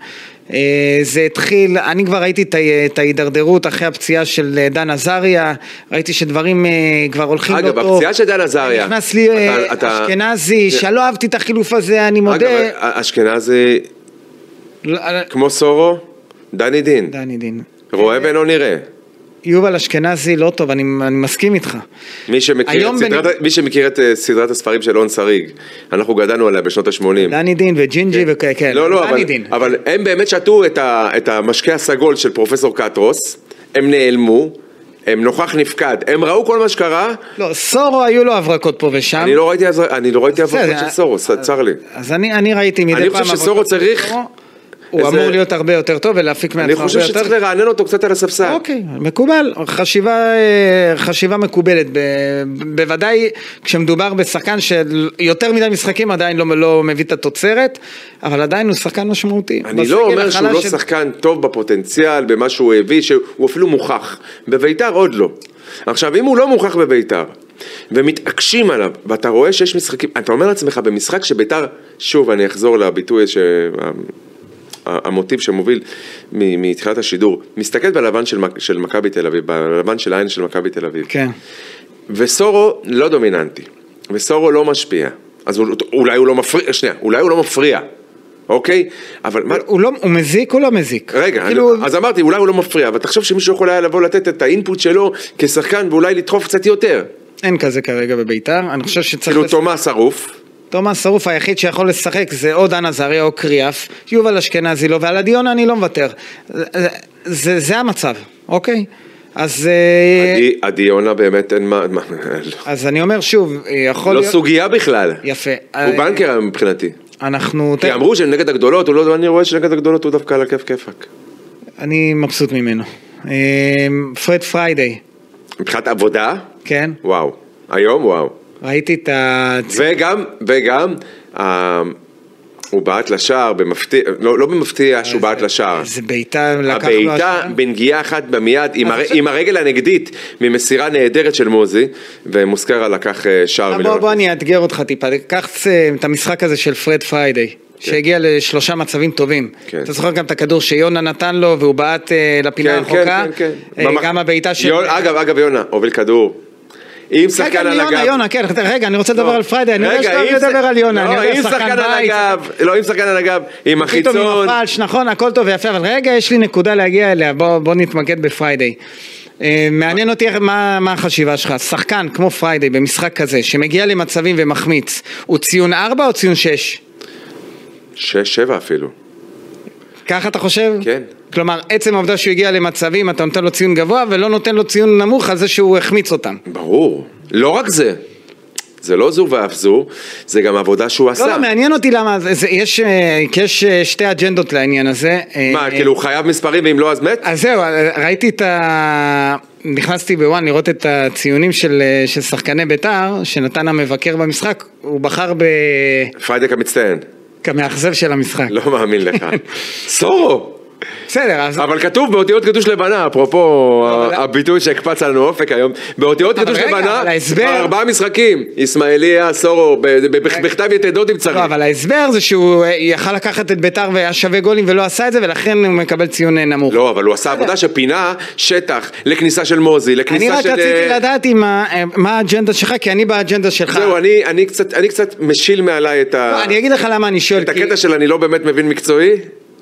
B: אה, זה התחיל, אני כבר ראיתי את ה- את ההידרדרות אחרי הפציעה של אה, דן עזריה, ראיתי שדברים אה, כבר הולכים לא
C: אגב,
B: טוב.
C: הפציעה של דן עזריה.
B: נכנס לי אה,
C: אתה- אתה-
B: אשכנזי,
C: זה-
B: שלא אהבתי את החילוף הזה, אני
C: אגב,
B: לא,
C: אה,
B: מודה.
C: אשכנזי,
B: לא, אה,
C: כמו סורו, דני דין.
B: דני דין.
C: רואה ולא נראה.
B: יובל אשכנזי לא טוב, אני, אני מסכים איתך.
C: מי שמכיר, את
B: היום
C: סדרת,
B: בנ-
C: מי שמכיר את אה, סדרת הספרים של און שריג, אנחנו גדלנו עליה בשנות ה-80.
B: דני דין וג'ינג'י וכאלה. כן.
C: לא, לא,
B: דני
C: אבל,
B: דין.
C: אבל הם באמת שתו את, ה, את המשקה הסגול של פרופסור קטרוס, הם נעלמו, הם נוכח נפקד, הם ראו כל מה שקרה,
B: לא, סורו היו לו הברקות פה ושם.
C: אני לא ראיתי אז- אני לא ראיתי
B: בסדר, אה,
C: עבודות של סורו, ס- צר לי.
B: אז אני, אני ראיתי מדי
C: אני
B: פעם...
C: חושב
B: הברקות
C: שסורו
B: של
C: צריך-
B: סורו. הוא
C: איזה-
B: אמור להיות הרבה יותר טוב ולהפיק מעצמו
C: אני
B: הרבה יותר.
C: חושב שצריך לרענן אותו קצת על הספסל.
B: אוקיי, מקובל, חשיבה, אה, חשיבה מקובלת, ב, בוודאי כשמדובר בשחקן של יותר מדי משחקים עדיין לא, לא מביא את התוצרת, אבל עדיין הוא שחקן משמעותי.
C: אני
B: בסגל
C: לא אומר שהוא
B: החלש
C: לא
B: של-
C: שחקן טוב בפוטנציאל, במה שהוא הביא, שהוא אפילו מוכח. בביתר עוד לא. עכשיו, אם הוא לא מוכח בביתר, ומתעקשים עליו, ואתה רואה שיש משחקים, אתה אומר לעצמך, במשחק שביתר, שוב, אני אחזור לביטוי, ש... ה- ה- המוטיב שמוביל מ- מתחילת השידור, מסתכל בלבן של, מק- של מכבי תל אביב, בלבן של העין של מכבי תל אביב.
B: כן.
C: וסורו לא דומיננטי, וסורו לא משפיע. אז הוא- אולי הוא לא מפריע, שנייה, אולי הוא לא מפריע, אוקיי? אבל מה...
B: הוא, לא, הוא מזיק או לא מזיק?
C: רגע,
B: כאילו,
C: אני, אז אמרתי, אולי הוא לא מפריע, אבל תחשוב שמישהו יכול היה לבוא לתת את האינפוט שלו כשחקן ואולי לדחוף קצת יותר.
B: אין כזה כרגע בביתר, אני חושב שצריך...
C: כאילו
B: לס-
C: תומאס ערוף,
B: תומאס שרוף היחיד שיכול לשחק זה או דן עזריה או קריאף, יובל אשכנזי לא, ועל הדיון אני לא מוותר. זה, זה, זה המצב, אוקיי? אז, אה,
C: עדי- עדי יונה באמת אין מה, מה-
B: אז אני אומר שוב, אה, יכול
C: לא
B: להיות... אה, כן.
C: סוגיה בכלל.
B: יפה.
C: הוא בנקר היום מבחינתי.
B: אנחנו...
C: כי אמרו שנגד הגדולות, הוא לא, אני רואה שנגד הגדולות הוא דווקא על הכיף כיפאק.
B: אני מבסוט ממנו. אה, פרד אמ, פריידי.
C: מבחינת עבודה,
B: כן?
C: וואו. היום, וואו.
B: ראיתי את ה...
C: וגם, וגם, אה, הוא בעט לשער במפתיע, לא, לא במפתיע שהוא בעט לשער.
B: אה, זה בעיטה, לקחנו...
C: הבעיטה
B: השנה.
C: בנגיעה אחת במיד, עם,
B: אז
C: הר...
B: עכשיו-
C: עם הרגל הנגדית, ממסירה נהדרת של מוזי, ומוסקרה לקח אה, שער
B: בוא,
C: מיליון.
B: בוא אני אאתגר אותך טיפה, קח אה, את המשחק הזה של פרד פריידי, שהגיע לשלושה מצבים טובים.
C: כן.
B: אתה זוכר גם את הכדור שיונה נתן לו והוא בעט אה, לפינה
C: כן,
B: הרחוקה?
C: כן, כן, כן.
B: אה,
C: במח-
B: גם הבעיטה של...
C: יונה- אגב, אגב, יונה, הוביל כדור. אם
B: רגע,
C: שחקן
B: אני
C: על הגב... לא.
B: יונה, יונה, כן, רגע, אני רוצה לדבר על פריידי, אני לא יודע
C: רגע,
B: שאתה אוהב
C: אם ש-
B: לדבר על יונה, אני
C: לא,
B: יודע
C: אם שחקן על
B: בית,
C: הגב, לא, אם שחקן על הגב, עם
B: פתאום עם
C: החיצון,
B: הפלש, נכון, הכל טוב ויפה, אבל רגע, יש לי נקודה להגיע אליה, בוא, בוא נתמקד בפריידיי. אה, מעניין אותי איך- מה, מה החשיבה שלך, שחקן כמו פריידיי במשחק כזה, שמגיע למצבים ומחמיץ, הוא ציון 4 או ציון 6?
C: שש, שבע אפילו.
B: ככה אתה חושב?
C: כן.
B: כלומר, עצם העובדה שהוא הגיע למצבים, אתה נותן לו ציון גבוה ולא נותן לו ציון נמוך על זה שהוא החמיץ אותם.
C: ברור. לא רק זה. זה לא זו ואף זו, זה גם עבודה שהוא עשה.
B: לא, לא, מעניין אותי למה, זה, זה, יש, אה, כי יש אה, שתי אג'נדות לעניין הזה. אה,
C: מה, כאילו הוא חייב מספרים ואם לא אז מת?
B: אז זהו, אה, ראיתי את ה... נכנסתי בוואן לראות את הציונים של, אה, של שחקני בית"ר, שנתן המבקר במשחק, הוא בחר ב...
C: פריידק המצטיין.
B: כמאכזב של המשחק.
C: לא מאמין לך. סורו!
B: בסדר, אז...
C: אבל כתוב באותיות גדוש לבנה, אפרופו ה- הביטוי שהקפץ עלינו אופק היום, באותיות
B: לא, אבל
C: גדוש
B: רגע,
C: לבנה,
B: אבל ההסבר-
C: כבר ארבעה משחקים, ישמעאליה, סורו, ב- ב- בכ- בכתב יתדות אם צריך.
B: לא, אבל ההסבר זה שהוא אה, יכל לקחת את בית"ר והיה שווה גולים ולא עשה את זה, ולכן הוא מקבל ציון אה, נמוך.
C: לא, אבל הוא עשה עבודה שפינה שטח לכניסה של מוזי,
B: אני
C: לכניסה
B: רק
C: של...
B: רציתי
C: אה,
B: לדעת עם ה- אה, מה האג'נדה שלך, כי אני באג'נדה שלך.
C: זהו, אני- אני קצת- אני קצת משיל מעליי את ה-
B: לא, אני אגיד לך למה אני שואל.
C: את
B: כי-
C: הקטע של אני לא באמת מבין מקצועי.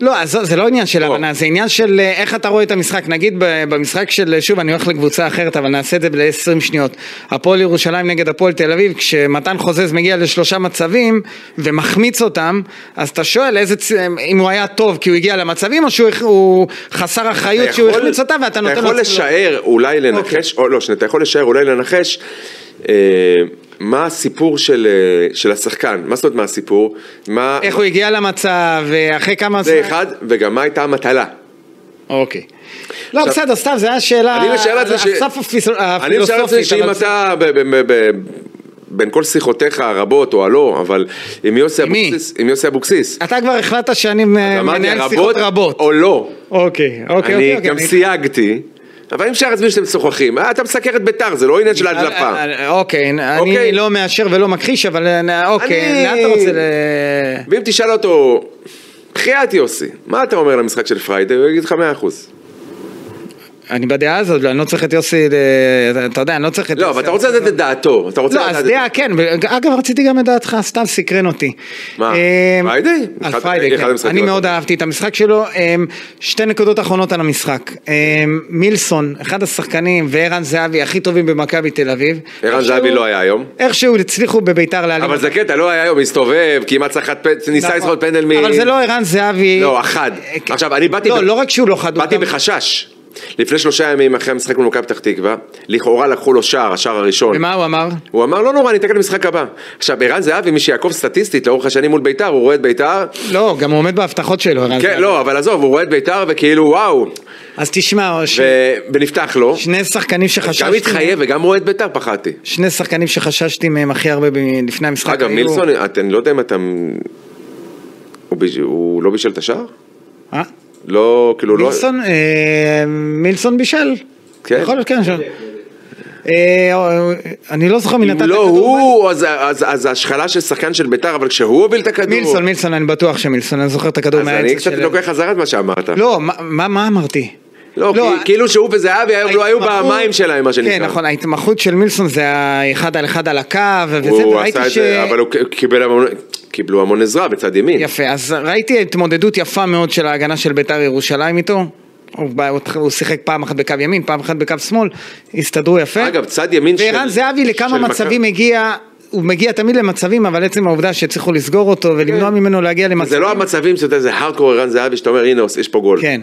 B: לא, אז זה- זה לא עניין של
C: לא.
B: הבנה, זה עניין של אה, איך אתה רואה את המשחק. נגיד ב- במשחק של, אה, שוב, אני הולך לקבוצה אחרת, אבל נעשה את זה ב-20 שניות. הפועל ירושלים נגד הפועל תל אביב, כשמתן חוזז מגיע לשלושה מצבים ומחמיץ אותם, אז אתה שואל איזה, צ- אה, אם הוא היה טוב כי הוא הגיע למצבים, או שהוא הח- הוא חסר אחריות
C: אתה
B: שהוא
C: יכול-
B: החמיץ אותה ואתה נותן לו... אוקיי.
C: אתה יכול
B: ציון.
C: לשער, אולי לנחש, או לא, שנייה, אתה יכול לשער, אולי לנחש, אה, מה הסיפור של אה, של השחקן, מה זאת אומרת מה הסיפור, מה...
B: איך הוא הגיע למצב, ואחרי כמה...
C: זה אחד, וגם מה הייתה המטלה.
B: אוקיי. לא, בסדר, סתם, זו הייתה שאלה...
C: אני משער לעצמי ש-
B: על סף הפיס-
C: אני משער לעצמי
B: הפילוסופית,
C: שאם
B: אבל-
C: אתה ב- ב- ב- ב- בין כל שיחותיך הרבות או הלא, אבל עם יוסי
B: עם מי?
C: אבוקסיס, עם יוסי אבוקסיס,
B: אתה כבר החלטת שאני
C: אמרתי
B: מנהל שיחות
C: הרבות
B: רבות.
C: או לא,
B: אוקיי, אוקיי,
C: אני
B: אוקיי.
C: גם סייגתי, אבל אני משער לעצמי שאתם משוחחים, אה, אתה מסקר את ביתר, זה לא עניין
B: אה,
C: של הדלפה.
B: אוקיי, אני
C: אוקיי.
B: לא מאשר ולא מכחיש, אבל אה, אוקיי,
C: אני-
B: לאן אתה רוצה ל...
C: ואם תשאל אותו, בחייאת יוסי, מה אתה אומר למשחק של פריידי? הוא יגיד לך מאה אחוז.
B: אני בדעה הזאת, אני לא צריך את יוסי, ל- אתה יודע, אני לא צריך את
C: לא,
B: יוסי.
C: אבל אתה רוצה לדעת את דעתו. אתה רוצה
B: לא,
C: לדעת
B: אז
C: את-
B: דעה כן, אגב רציתי גם את דעתך, סתם סקרן אותי.
C: מה,
B: אמ,
C: פריידי?
B: על
C: אחד-
B: פריידי,
C: אחד
B: כן.
C: המשחקים
B: אני מאוד
C: הטובים.
B: אהבתי את המשחק שלו. אמ, שתי נקודות אחרונות על המשחק. אמ, מילסון, אחד השחקנים, וערן זהבי הכי טובים במכבי תל אביב.
C: ערן
B: איכשהו-
C: זהבי לא היה היום.
B: איכשהו הצליחו בביתר להעלים.
C: אבל
B: אותו.
C: זה קטע, לא היה היום, הסתובב, כמעט סחט, פ- ניסה
B: נכון.
C: לסחוט פנדל מ...
B: אבל זה לא ערן זהבי.
C: לא, אחד.
B: אה,
C: עכשיו, אני באתי...
B: לא,
C: ב-
B: לא רק שהוא לא חד, הוא
C: באתי
B: גם-
C: בחשש. לפני שלושה ימים אחרי המשחק מול מכבי פתח תקווה, לכאורה לקחו לו שער, השער הראשון.
B: ומה הוא אמר?
C: הוא אמר, לא נורא, אני אתקן למשחק הבא. עכשיו, ערן זהבי, מי שיעקוב סטטיסטית לאורך השנים מול ביתר, הוא רואה את ביתר,
B: לא, גם הוא עומד בהבטחות שלו, ערן
C: כן,
B: זהבי.
C: לא, אבל עזוב, הוא רואה את ביתר וכאילו, וואו,
B: אז תשמע, ש-
C: ו- ונפתח לו.
B: שני שחקנים שחששתי...
C: גם התחייב וגם רואה את ביתר פחדתי.
B: שני שחקנים שחששתי מהם הכי הרבה ב- לפני המשחק.
C: אגב,
B: היו-
C: מילסון, את- אני לא יודע אם אתה... הוא ביש- הוא לא בישל את השער?
B: אה?
C: לא, כאילו לא...
B: מילסון, אה, מילסון בישל.
C: כן.
B: יכול להיות, כן. ש- אה, אה, אני לא זוכר מי נתן את
C: אם לא
B: הכדור.
C: הוא, אז- אז אז השחלה של שחקן של ביתר, אבל כשהוא הוביל את הכדור...
B: מילסון, מילסון, אני בטוח שמילסון, אני זוכר את הכדור
C: אז אני
B: מהעצם
C: קצת
B: של...
C: לוקח חזרה את מה שאמרת.
B: לא, מה- מה מה אמרתי?
C: לא,
B: לא,
C: כי-
B: ה-
C: כאילו שהוא וזהבי היום לא היו
B: ההתמחות-
C: במים שלהם, מה שנקרא.
B: כן, נכון, ההתמחות של מילסון זה האחד על אחד על הקו, וזה,
C: הוא
B: וראיתי
C: עשה את
B: ש...
C: זה, אבל הוא ק- קיבל המון... קיבלו המון עזרה בצד ימין.
B: יפה, אז ראיתי התמודדות יפה מאוד של ההגנה של בית"ר ירושלים איתו. הוא, בא, הוא, הוא שיחק פעם אחת בקו ימין, פעם אחת בקו שמאל, הסתדרו יפה.
C: אגב, צד ימין של...
B: וערן זהבי לכמה
C: של מכבי-
B: מצבים הגיע הוא מגיע תמיד למצבים, אבל עצם העובדה שהצליחו לסגור אותו ולמנוע
C: כן.
B: ממנו להגיע למצבים...
C: זה לא המצבים שאתה יודע, זה הארדקור ערן זהבי שאתה אומר הנה יש פה גול.
B: כן.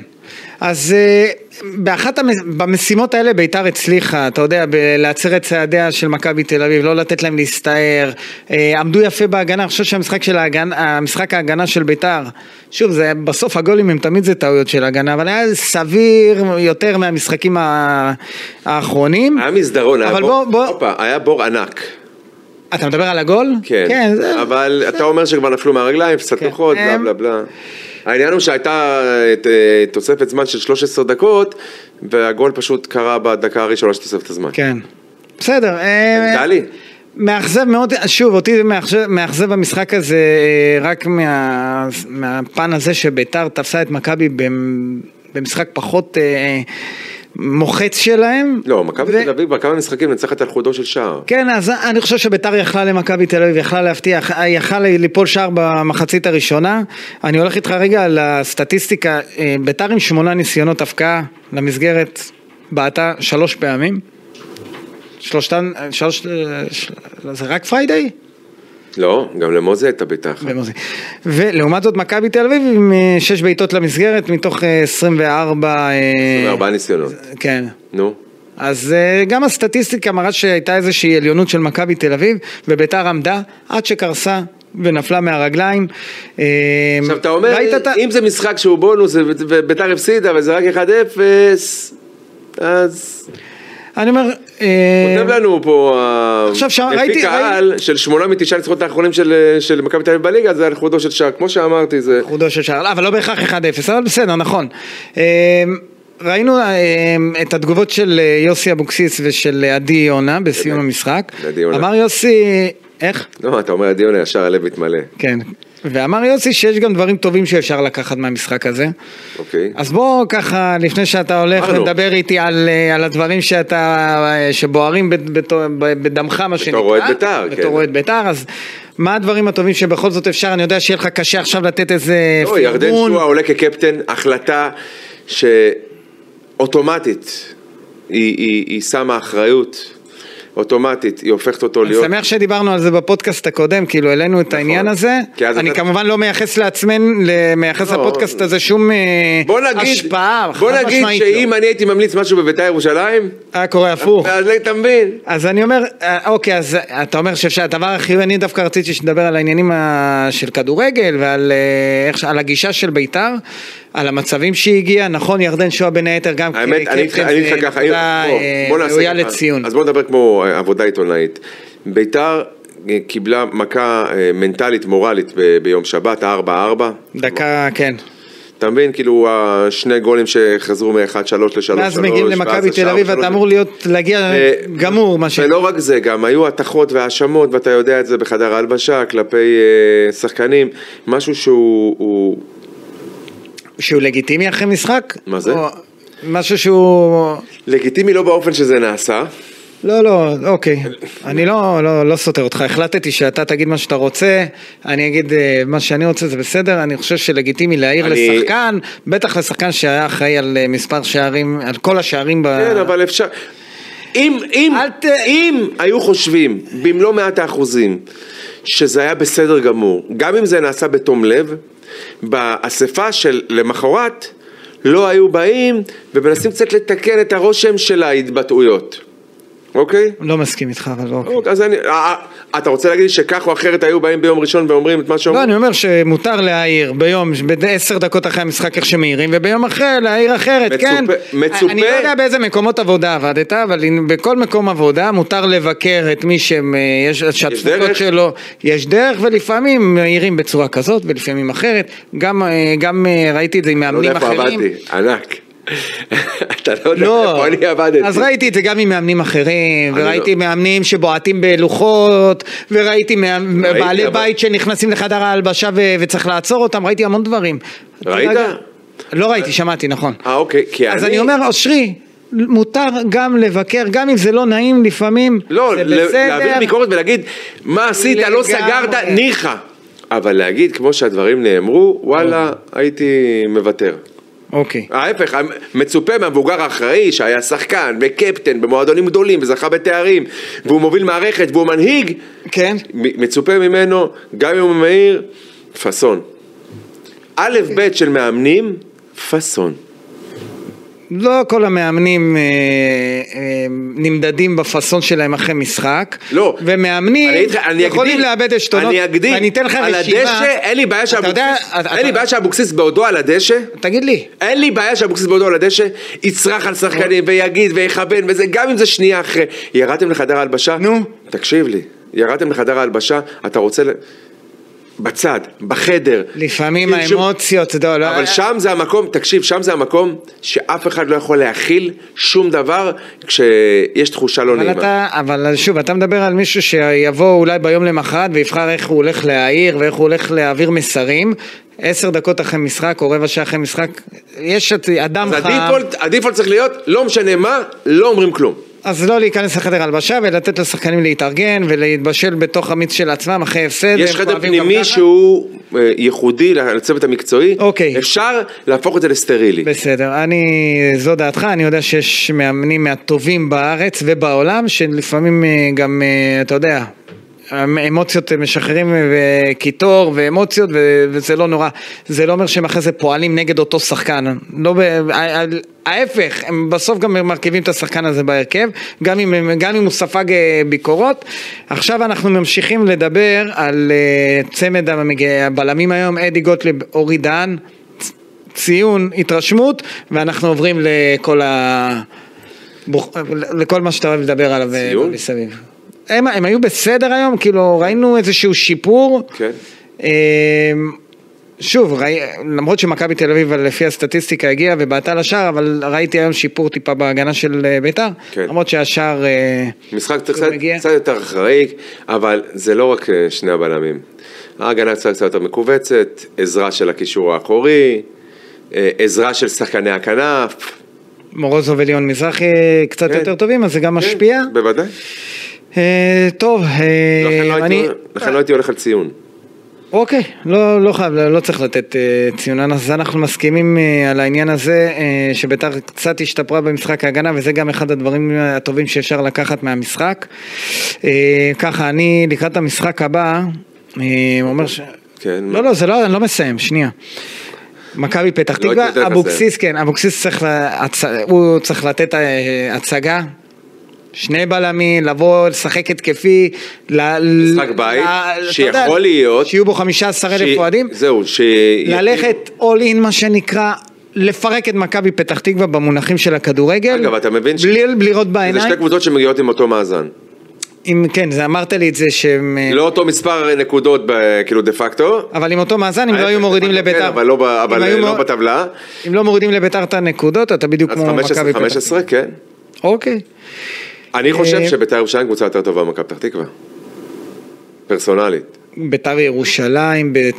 B: אז אה, באחת המס... במשימות האלה ביתר הצליחה, אתה יודע, ב- להצר את צעדיה של מכבי תל אביב, לא לתת להם להסתער, אה, עמדו יפה בהגנה, אני חושב שהמשחק של ההגנה, המשחק ההגנה של ביתר, שוב, זה בסוף הגולים הם תמיד זה טעויות של הגנה, אבל היה סביר יותר מהמשחקים ה- האחרונים.
C: היה מסדרון, היה
B: אבל
C: בור-
B: בוא- בוא-
C: הופה, היה בור ענק.
B: אתה מדבר על הגול?
C: כן,
B: זה-
C: אבל אתה אומר שכבר נפלו מהרגליים, קצת
B: כן.
C: נוחות, בלה
B: הם-
C: בלה בלה. העניין הוא שהייתה את, אה, תוספת זמן של 13 דקות, והגול פשוט קרה בדקה הראשונה של תוספת הזמן.
B: כן. בסדר. אה,
C: טלי.
B: מאכזב מאוד, שוב, אותי זה מאכזב- מאכזב המשחק הזה אה, רק מה, מהפן הזה שביתר תפסה את מכבי במ- במשחק פחות אה, מוחץ שלהם.
C: לא, מכבי
B: ו-
C: תל אביב כבר כמה משחקים נצחת על חודו של שער.
B: כן, אז אני חושב שביתר יכלה למכבי תל אביב, יכלה להבטיח, יכלה ליפול שער במחצית הראשונה. אני הולך איתך רגע על הסטטיסטיקה, אה, ביתר עם שמונה ניסיונות הפקעה למסגרת, בעטה שלוש פעמים. שלושתן, אה, שלוש, של- זה רק פריידיי?
C: לא, גם למוזי הייתה בעיטה אחת.
B: במוזי. ולעומת זאת מכבי תל אביב עם 6 בעיטות למסגרת מתוך אה, 24... אה,
C: 24 ניסיונות.
B: כן.
C: נו.
B: אז אה, גם הסטטיסטיקה מראה שהייתה איזושהי עליונות של מכבי תל אביב, וביתר עמדה עד שקרסה ונפלה מהרגליים. אה,
C: עכשיו אתה אומר,
B: ראית את ה-
C: אם זה משחק שהוא בונוס וביתר הפסידה וזה רק 1-0, אז
B: אני אומר... אה,
C: כותב לנו פה, ה-
B: עכשיו שם-
C: מפיק
B: ראיתי-
C: העל של שמונה מתשעה ניצחונות האחרונים של- אה, של מכבי תל אביב בליגה, זה על חודו של שער, כמו שאמרתי, זה...
B: חודו של שער, אבל לא בהכרח 1-0, אבל בסדר, נכון. אמ, ראינו אמ, את התגובות של אה, יוסי אבוקסיס ושל אה, עדי יונה בסיום
C: באמת.
B: המשחק.
C: עדי יונה.
B: אמר יוסי, איך?
C: לא, אתה אומר הדיון הישר, הלב מתמלא,
B: כן. ואמר יוסי שיש גם דברים טובים שאפשר לקחת מהמשחק הזה.
C: אוקיי?
B: אז בוא ככה, לפני שאתה הולך
C: אמרנו.
B: לדבר איתי על, אה, על הדברים שאתה, אה, שבוערים בת- בת- בדמך, מה שנקרא.
C: אוהד בית"ר, כן.
B: בתור אוהד בית"ר, אז מה הדברים הטובים שבכל זאת אפשר? אני יודע שיהיה לך קשה עכשיו לתת איזה
C: לא, ירדן שואה עולה כקפטן, החלטה שאוטומטית היא- היא היא שמה אחריות, אוטומטית היא הופכת אותו
B: אני
C: להיות... נכון.
B: שמח שדיברנו על זה בפודקאסט הקודם, כאילו העלינו את העניין הזה.
C: כי אז
B: אני
C: אתה-
B: כמובן לא מייחס לעצמנו, ל- מייחס
C: לא.
B: לפודקאסט הזה שום אה,
C: בוא נגיד,
B: השפעה,
C: בוא
B: חד
C: נגיד
B: משמעית
C: שאם אה,
B: לא.
C: אני הייתי ממליץ משהו בביתר ירושלים,
B: היה קורה הפוך.
C: אז אתה מבין.
B: אז אני אומר, אה, אוקיי, אז אתה אומר שאפשר, הדבר הכי, אני דווקא רציתי שנדבר על העניינים ה- של כדורגל ועל אה, איך, ש- על הגישה של בית"ר, על המצבים שהיא הגיעה, נכון, ירדן שואה בין היתר גם
C: האמת, אני איתך- אני איתך ככה, אני-
B: נקודה
C: בוא,
B: כן, אה,
C: בוא נעשה
B: ראויה
C: ככה.
B: לציון.
C: אז בוא נדבר כמו אה, עבודה עיתונאית. ביתר אה, קיבלה מכה אה, מנטלית, מורלית ב- ביום שבת, 4-4.
B: דקה, כן.
C: אתה מבין, כאילו, השני גולים שחזרו מ-1-3 ל-3-3.
B: ואז מגיעים למכבי תל אביב, אתה אמור להיות, להגיע גמור, מה ש...
C: אה, ולא רק זה, גם היו הטחות והאשמות, ואתה יודע את זה בחדר ההלבשה, כלפי אה, שחקנים, משהו שהוא... הוא-
B: שהוא לגיטימי אחרי משחק?
C: מה זה?
B: או משהו שהוא...
C: לגיטימי לא באופן שזה נעשה,
B: לא, לא, אוקיי. אני לא, לא, לא סותר אותך. החלטתי שאתה תגיד מה שאתה רוצה, אני אגיד אה, מה שאני רוצה, זה בסדר. אני חושב שלגיטימי להעיר
C: אני-
B: לשחקן, בטח לשחקן שהיה אחראי על אה, מספר שערים, על כל השערים ב...
C: כן, אבל אפשר... אם, אם,
B: אל ת-
C: אם היו חושבים במלוא מעט האחוזים שזה היה בסדר גמור, גם אם זה נעשה בתום לב, באספה של למחרת לא היו באים ומנסים קצת לתקן את הרושם של ההתבטאויות, אוקיי?
B: לא מסכים איתך, אבל אוקיי.
C: אוקיי, אז אני, אה, אתה רוצה להגיד לי שכך או אחרת היו באים ביום ראשון ואומרים את מה
B: לא,
C: שאומרים?
B: אני אומר שמותר להעיר ביום, בעשר דקות אחרי המשחק איך שמעירים, וביום אחרי להעיר אחרת,
C: מצופה-
B: כן.
C: מצופה-
B: אני לא יודע באיזה מקומות עבודה עבדת, אבל אם בכל מקום עבודה מותר לבקר את מי שיש,
C: דרך?
B: שהתפוקות שלו, יש דרך, ולפעמים מעירים בצורה כזאת, ולפעמים אחרת. גם, אה, גם אה, ראיתי את זה עם
C: אני לא
B: מאמנים
C: יודע איפה
B: אחרים.
C: עבדתי, ענק. אתה לא יודע
B: לא,
C: איפה אני עבדתי.
B: אז ראיתי את זה גם עם מאמנים אחרים,
C: אני
B: וראיתי
C: לא.
B: מאמנים שבועטים בלוחות, וראיתי מאמ-
C: ראיתי,
B: בעלי
C: אבל-
B: בית שנכנסים לחדר ההלבשה ו- וצריך לעצור אותם, ראיתי המון דברים.
C: ראית?
B: תירגע. לא ראיתי, שמעתי, נכון.
C: אה, אוקיי, כי אני...
B: אז אני אומר, אושרי, מותר גם לבקר, גם אם זה לא נעים לפעמים,
C: לא,
B: זה
C: ל-
B: בסדר.
C: להעביר ביקורת ולהגיד, מה עשית, לא
B: לגמרי.
C: סגרת, ניחא. אבל להגיד, כמו שהדברים נאמרו, וואלה, הייתי מוותר.
B: אוקיי.
C: ההפך, מצופה מהמבוגר האחראי שהיה שחקן וקפטן במועדונים גדולים וזכה בתארים והוא מוביל מערכת והוא מנהיג,
B: כן?
C: מ- מצופה ממנו, גם אם הוא מהיר, פאסון. א' ב' של מאמנים, פאסון.
B: לא כל המאמנים אה, אה, נמדדים בפאסון שלהם אחרי משחק.
C: לא.
B: ומאמנים
C: אני אגיד לך, אני
B: יכולים
C: אקדים,
B: לאבד עשתונות.
C: אני אקדים.
B: ואני אתן לך
C: על
B: רשימה.
C: הדשא, אין לי בעיה
B: אתה יודע,
C: שאבוקסיס,
B: אתה-
C: אין לי בעיה שאבוקסיס בעודו על הדשא,
B: תגיד לי,
C: אין לי בעיה שאבוקסיס בעודו על הדשא, יצרח על שחקנים ויגיד ויכוון וזה, גם אם זה שנייה אחרי. ירדתם לחדר ההלבשה?
B: נו.
C: תקשיב לי, ירדתם לחדר ההלבשה, אתה רוצה... ל- בצד, בחדר.
B: לפעמים
C: כאילו שום-
B: האמוציות, אתה יודע, לא-
C: אבל שם זה המקום, תקשיב, שם זה המקום שאף אחד לא יכול להכיל שום דבר כשיש תחושה לא
B: אבל
C: נעימה.
B: אתה, אבל שוב, אתה מדבר על מישהו שיבוא אולי ביום למחרת ויבחר איך הוא הולך להעיר ואיך הוא הולך להעביר מסרים. עשר דקות אחרי משחק או רבע שעה אחרי משחק, יש את אדם
C: אז
B: חם,
C: הדיפולט, הדיפולט צריך להיות, לא משנה מה, לא אומרים כלום.
B: אז לא להיכנס לחדר הלבשה ולתת לשחקנים להתארגן ולהתבשל בתוך המיץ של עצמם אחרי הפסד.
C: יש
B: כן, הם
C: חדר
B: כואבים גם
C: פנימי
B: ככה.
C: שהוא אה, ייחודי לצוות המקצועי,
B: אוקיי.
C: אפשר להפוך את זה לסטרילי.
B: בסדר, אני, זו דעתך, אני יודע שיש מאמנים מהטובים בארץ ובעולם, שלפעמים אה, גם, אה, אתה יודע, אמוציות הם משחררים אה, וקיטור ואמוציות, ו- וזה לא נורא. זה לא אומר שהם אחרי זה פועלים נגד אותו שחקן. לא ב... ה- ה- ההפך, הם בסוף גם מרכיבים את השחקן הזה בהרכב, גם אם, הם- גם אם הוא ספג אה, ביקורות. עכשיו אנחנו ממשיכים לדבר על אה, צמד המג- הבלמים היום, אדי גוטליב, אורי דהן. ציון, התרשמות, ואנחנו עוברים לכל ה... בוח- לכל מה שאתה אוהב לדבר עליו אה,
C: ציון?
B: מסביב. הם, הם היו בסדר היום? כאילו, ראינו איזשהו שיפור?
C: כן.
B: אמ, שוב, ראי, למרות שמכבי תל אביב לפי הסטטיסטיקה הגיעה ובעטה לשער, אבל ראיתי היום שיפור טיפה בהגנה של אה, ביתר.
C: כן.
B: למרות שהשער... אה,
C: משחק
B: הוא
C: קצת,
B: מגיע.
C: קצת יותר אחראי, אבל זה לא רק אה, שני הבלמים. ההגנה קצת קצת יותר מכווצת, עזרה של הקישור האחורי, אה, עזרה של שחקני הכנף.
B: מורוזוב וליון מזרחי אה, קצת
C: כן.
B: יותר טובים, אז זה גם משפיע.
C: כן, בוודאי.
B: אה, טוב, אה,
C: לכן לא
B: אני...
C: הייתי- לכן לא הייתי הולך על ציון.
B: אוקיי, לא, לא חייב, לא צריך לתת אה, ציונן, אז אנחנו מסכימים אה, על העניין הזה, אה, שביתר קצת השתפרה במשחק ההגנה, וזה גם אחד הדברים הטובים שאפשר לקחת מהמשחק. אה, ככה, אני לקראת המשחק הבא, אה, אומר ש...
C: כן,
B: לא,
C: מה?
B: לא, זה לא, אני לא מסיים, שנייה. מכבי פתח
C: לא הייתי
B: תקווה,
C: יודע
B: אבוקסיס, כן, אבוקסיס צריך, להצ... הוא צריך לתת אה, הצגה. שני בלמים, לבוא, לשחק התקפי. ל-
C: משחק בית,
B: ל- אתה
C: שיכול
B: יודע,
C: להיות-
B: שיהיו בו 15 אלף
C: ש-
B: אוהדים.
C: זהו, ש...
B: ללכת all in מה שנקרא, לפרק את מכבי פתח תקווה במונחים של הכדורגל.
C: אגב, אתה מבין ש-
B: בלי בלי לראות
C: זה
B: בעיניים.
C: שתי קבוצות שמגיעות עם אותו מאזן.
B: אם כן, זה אמרת לי את זה שהם... אה,
C: לא אותו מספר נקודות ב- כאילו דה פקטו.
B: אבל עם אותו מאזן, אם לא היו מורידים
C: כן,
B: לביתר.
C: אבל לא ב- אבל
B: אם היו
C: לא
B: מור-
C: בטבלה.
B: אם לא מורידים לביתר את הנקודות, אתה בדיוק
C: אז
B: כמו מכבי
C: 15,
B: פתח תקווה.
C: 15, כן.
B: אוקיי.
C: אני חושב
B: אה,
C: שביתר ירושלים קבוצה יותר טובה ממכבי פתח תקווה. פרסונלית.
B: ביתר ירושלים, בת-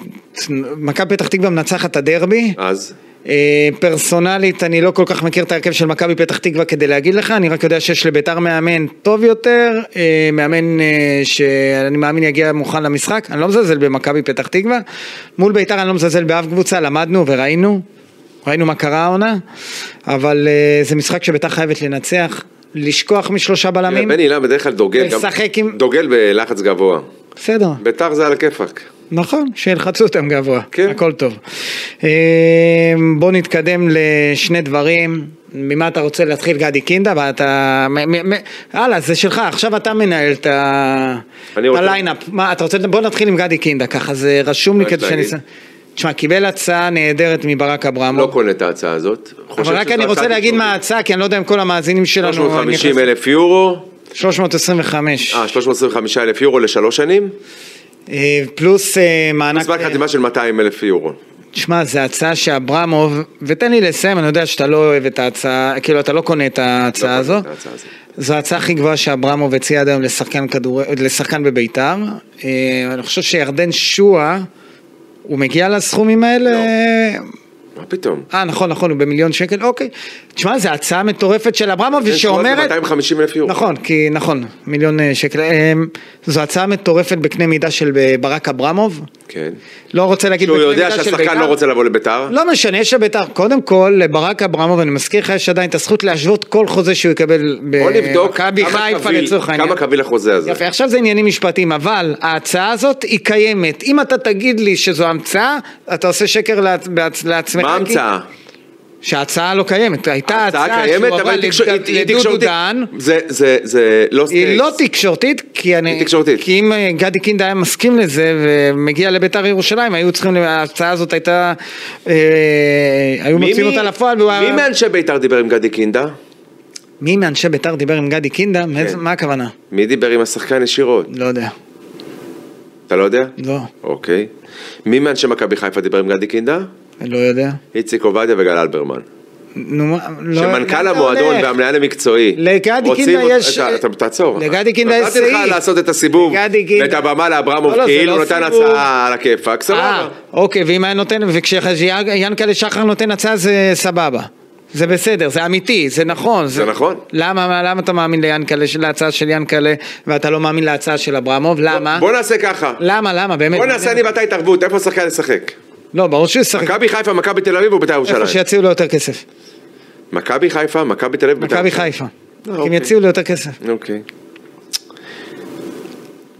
B: מכבי פתח תקווה מנצחת את הדרבי.
C: אז?
B: אה, פרסונלית, אני לא כל כך מכיר את ההרכב של מכבי פתח תקווה כדי להגיד לך, אני רק יודע שיש לביתר מאמן טוב יותר, אה, מאמן אה, שאני מאמין יגיע מוכן למשחק, אני לא מזלזל במכבי פתח תקווה, מול ביתר אני לא מזלזל באף קבוצה, למדנו וראינו, ראינו מה קרה העונה, אבל אה, זה משחק שביתר חייבת לנצח, לשכוח משלושה
C: תראה,
B: בלמים,
C: בני אילן בדרך כלל דוגל, גם-
B: לשחק עם-
C: דוגל בלחץ גבוה.
B: בסדר.
C: ביתר זה על הכיפאק.
B: נכון, שילחצו אותם גבוה,
C: כן.
B: הכל טוב. אה, בוא נתקדם לשני דברים, ממה אתה רוצה להתחיל גדי קינדה, ואתה... מ- מ- מ- הלאה, זה שלך, עכשיו אתה מנהל את ה-
C: אני
B: את
C: רוצה-
B: הליינאפ. מה, אתה רוצה... בוא נתחיל עם גדי קינדה, ככה זה רשום לי
C: מה
B: כדי
C: לא, יש
B: שאני...
C: להגיד?
B: תשמע, קיבל הצעה נהדרת מברק אברמוב.
C: לא קונה את ההצעה הזאת. חושב
B: אבל רק
C: שזו
B: אני רוצה
C: הצעה
B: להגיד מה
C: תקשורתית.
B: ההצעה, כי אני לא יודע אם כל המאזינים שלנו...
C: 350 אלף יורו.
B: 325.
C: אה, 325 אלף יורו לשלוש שנים?
B: אה, פלוס אה, מענק...
C: מספר חתימה של 200 אלף יורו.
B: תשמע, זו הצעה שאברמוב, ותן לי לסיים, אני יודע שאתה לא אוהב את ההצעה, כאילו אתה לא קונה את ההצעה
C: לא
B: הזו.
C: קונה את ההצעה הזו.
B: זו ההצעה הכי גבוהה שאברמוב הציע עד היום לשחקן, כדור... לשחקן בביתר.
C: לא.
B: אה, אני חושב שירדן שואה, הוא מגיע לסכומים האלה?
C: מה פתאום?
B: אה, נכון, נכון, הוא במיליון שקל, אוקיי. תשמע, זו הצעה מטורפת של
C: כן,
B: אברמוביץ'
C: שואה זה
B: שאומרת...
C: 250 אלף יורו.
B: נכון, כי נכון, מיליון אה, שקל. אה, זו הצעה מטורפת בקנה מידה של אה, ברק אברמוב.
C: כן.
B: לא רוצה להגיד
C: שהוא
B: בקנה
C: יודע
B: מידה של
C: שהשחקן
B: בית"ר.
C: לא רוצה לבוא לביתר?
B: לא משנה, יש לביתר, קודם כל, לברק אברמוב, אני מזכיר לך, יש עדיין את הזכות להשוות כל חוזה שהוא יקבל
C: בוא נבדוק
B: במכבי
C: כמה
B: אה, חיפה
C: קביל-
B: לצורך העניין.
C: כמה קביל החוזה הזה.
B: יפה, עכשיו זה עניינים משפטיים, אבל ההצעה הזאת היא קיימת. אם אתה תגיד לי שזו המצאה, אתה עושה שקר לעצ- בעצ- לעצמך.
C: מה
B: כי-
C: ההמצאה?
B: שההצעה לא קיימת, הייתה הצעה
C: קיימת,
B: שהועברה
C: אבל היא תקשור-
B: לד-
C: היא- היא
B: לדודו
C: תקשורתית.
B: דהן,
C: זה- זה- זה לא
B: היא לא
C: סטייטס.
B: תקשורתית, כי אני,
C: היא תקשורתית.
B: כי אם אה, גדי קינדה היה מסכים לזה ומגיע לביתר ירושלים, היו צריכים, ההצעה הזאת הייתה, אה, היו
C: מי-
B: מוציאים
C: מי-
B: אותה לפועל, והוא
C: מי
B: היה-
C: מאנשי ביתר דיבר עם גדי קינדה?
B: מי מאנשי ביתר דיבר עם גדי קינדה?
C: כן.
B: מאיזה- מה הכוונה?
C: מי דיבר עם השחקן ישירות?
B: לא יודע,
C: אתה לא יודע?
B: לא,
C: אוקיי. מי מאנשי מכבי חיפה דיבר עם גדי קינדה?
B: לא יודע.
C: איציק עובדיה וגל אלברמן.
B: נו, מה- לא- לאן
C: שמנכ"ל
B: אתה
C: המועדון
B: הולך?
C: והמנהל המקצועי
B: לגדי
C: רוצים
B: קינדה
C: אות-
B: יש-
C: אתה- אתה- תעצור.
B: לגדי קינדה יש
C: נתתי לך
B: סעיף.
C: לעשות את הסיבוב
B: לגדי קינדה-
C: ואת הבמה
B: לא,
C: לאברמוב
B: לא, זה
C: כאילו
B: לא
C: נתן
B: סיבוב.
C: הצעה על הכיפאק, סבבה.
B: אה, אוקיי, ואם היה נותן, וכשיענקלה שחר נותן הצעה זה סבבה. זה בסדר, זה אמיתי, זה נכון.
C: זה נכון.
B: למה, למה אתה מאמין ליענקלה, להצעה של יענקלה, ואתה לא מאמין להצעה של אברמוב? למה?
C: בוא נעשה ככה.
B: למה, למה, באמת?
C: בוא נעשה אני ואתה התערבות, איפה השחקן ישחק?
B: לא, ברור שהוא ישחק
C: מכבי חיפה, מכבי תל אביב או בית"ר
B: איפה
C: ירושלים?
B: שיציעו לו יותר כסף.
C: מכבי חיפה, מכבי תל אביב, בית"ר
B: מכבי
C: ירושלים.
B: חיפה.
C: אה,
B: אם
C: אוקיי.
B: יציעו לו יותר כסף.
C: אוקיי.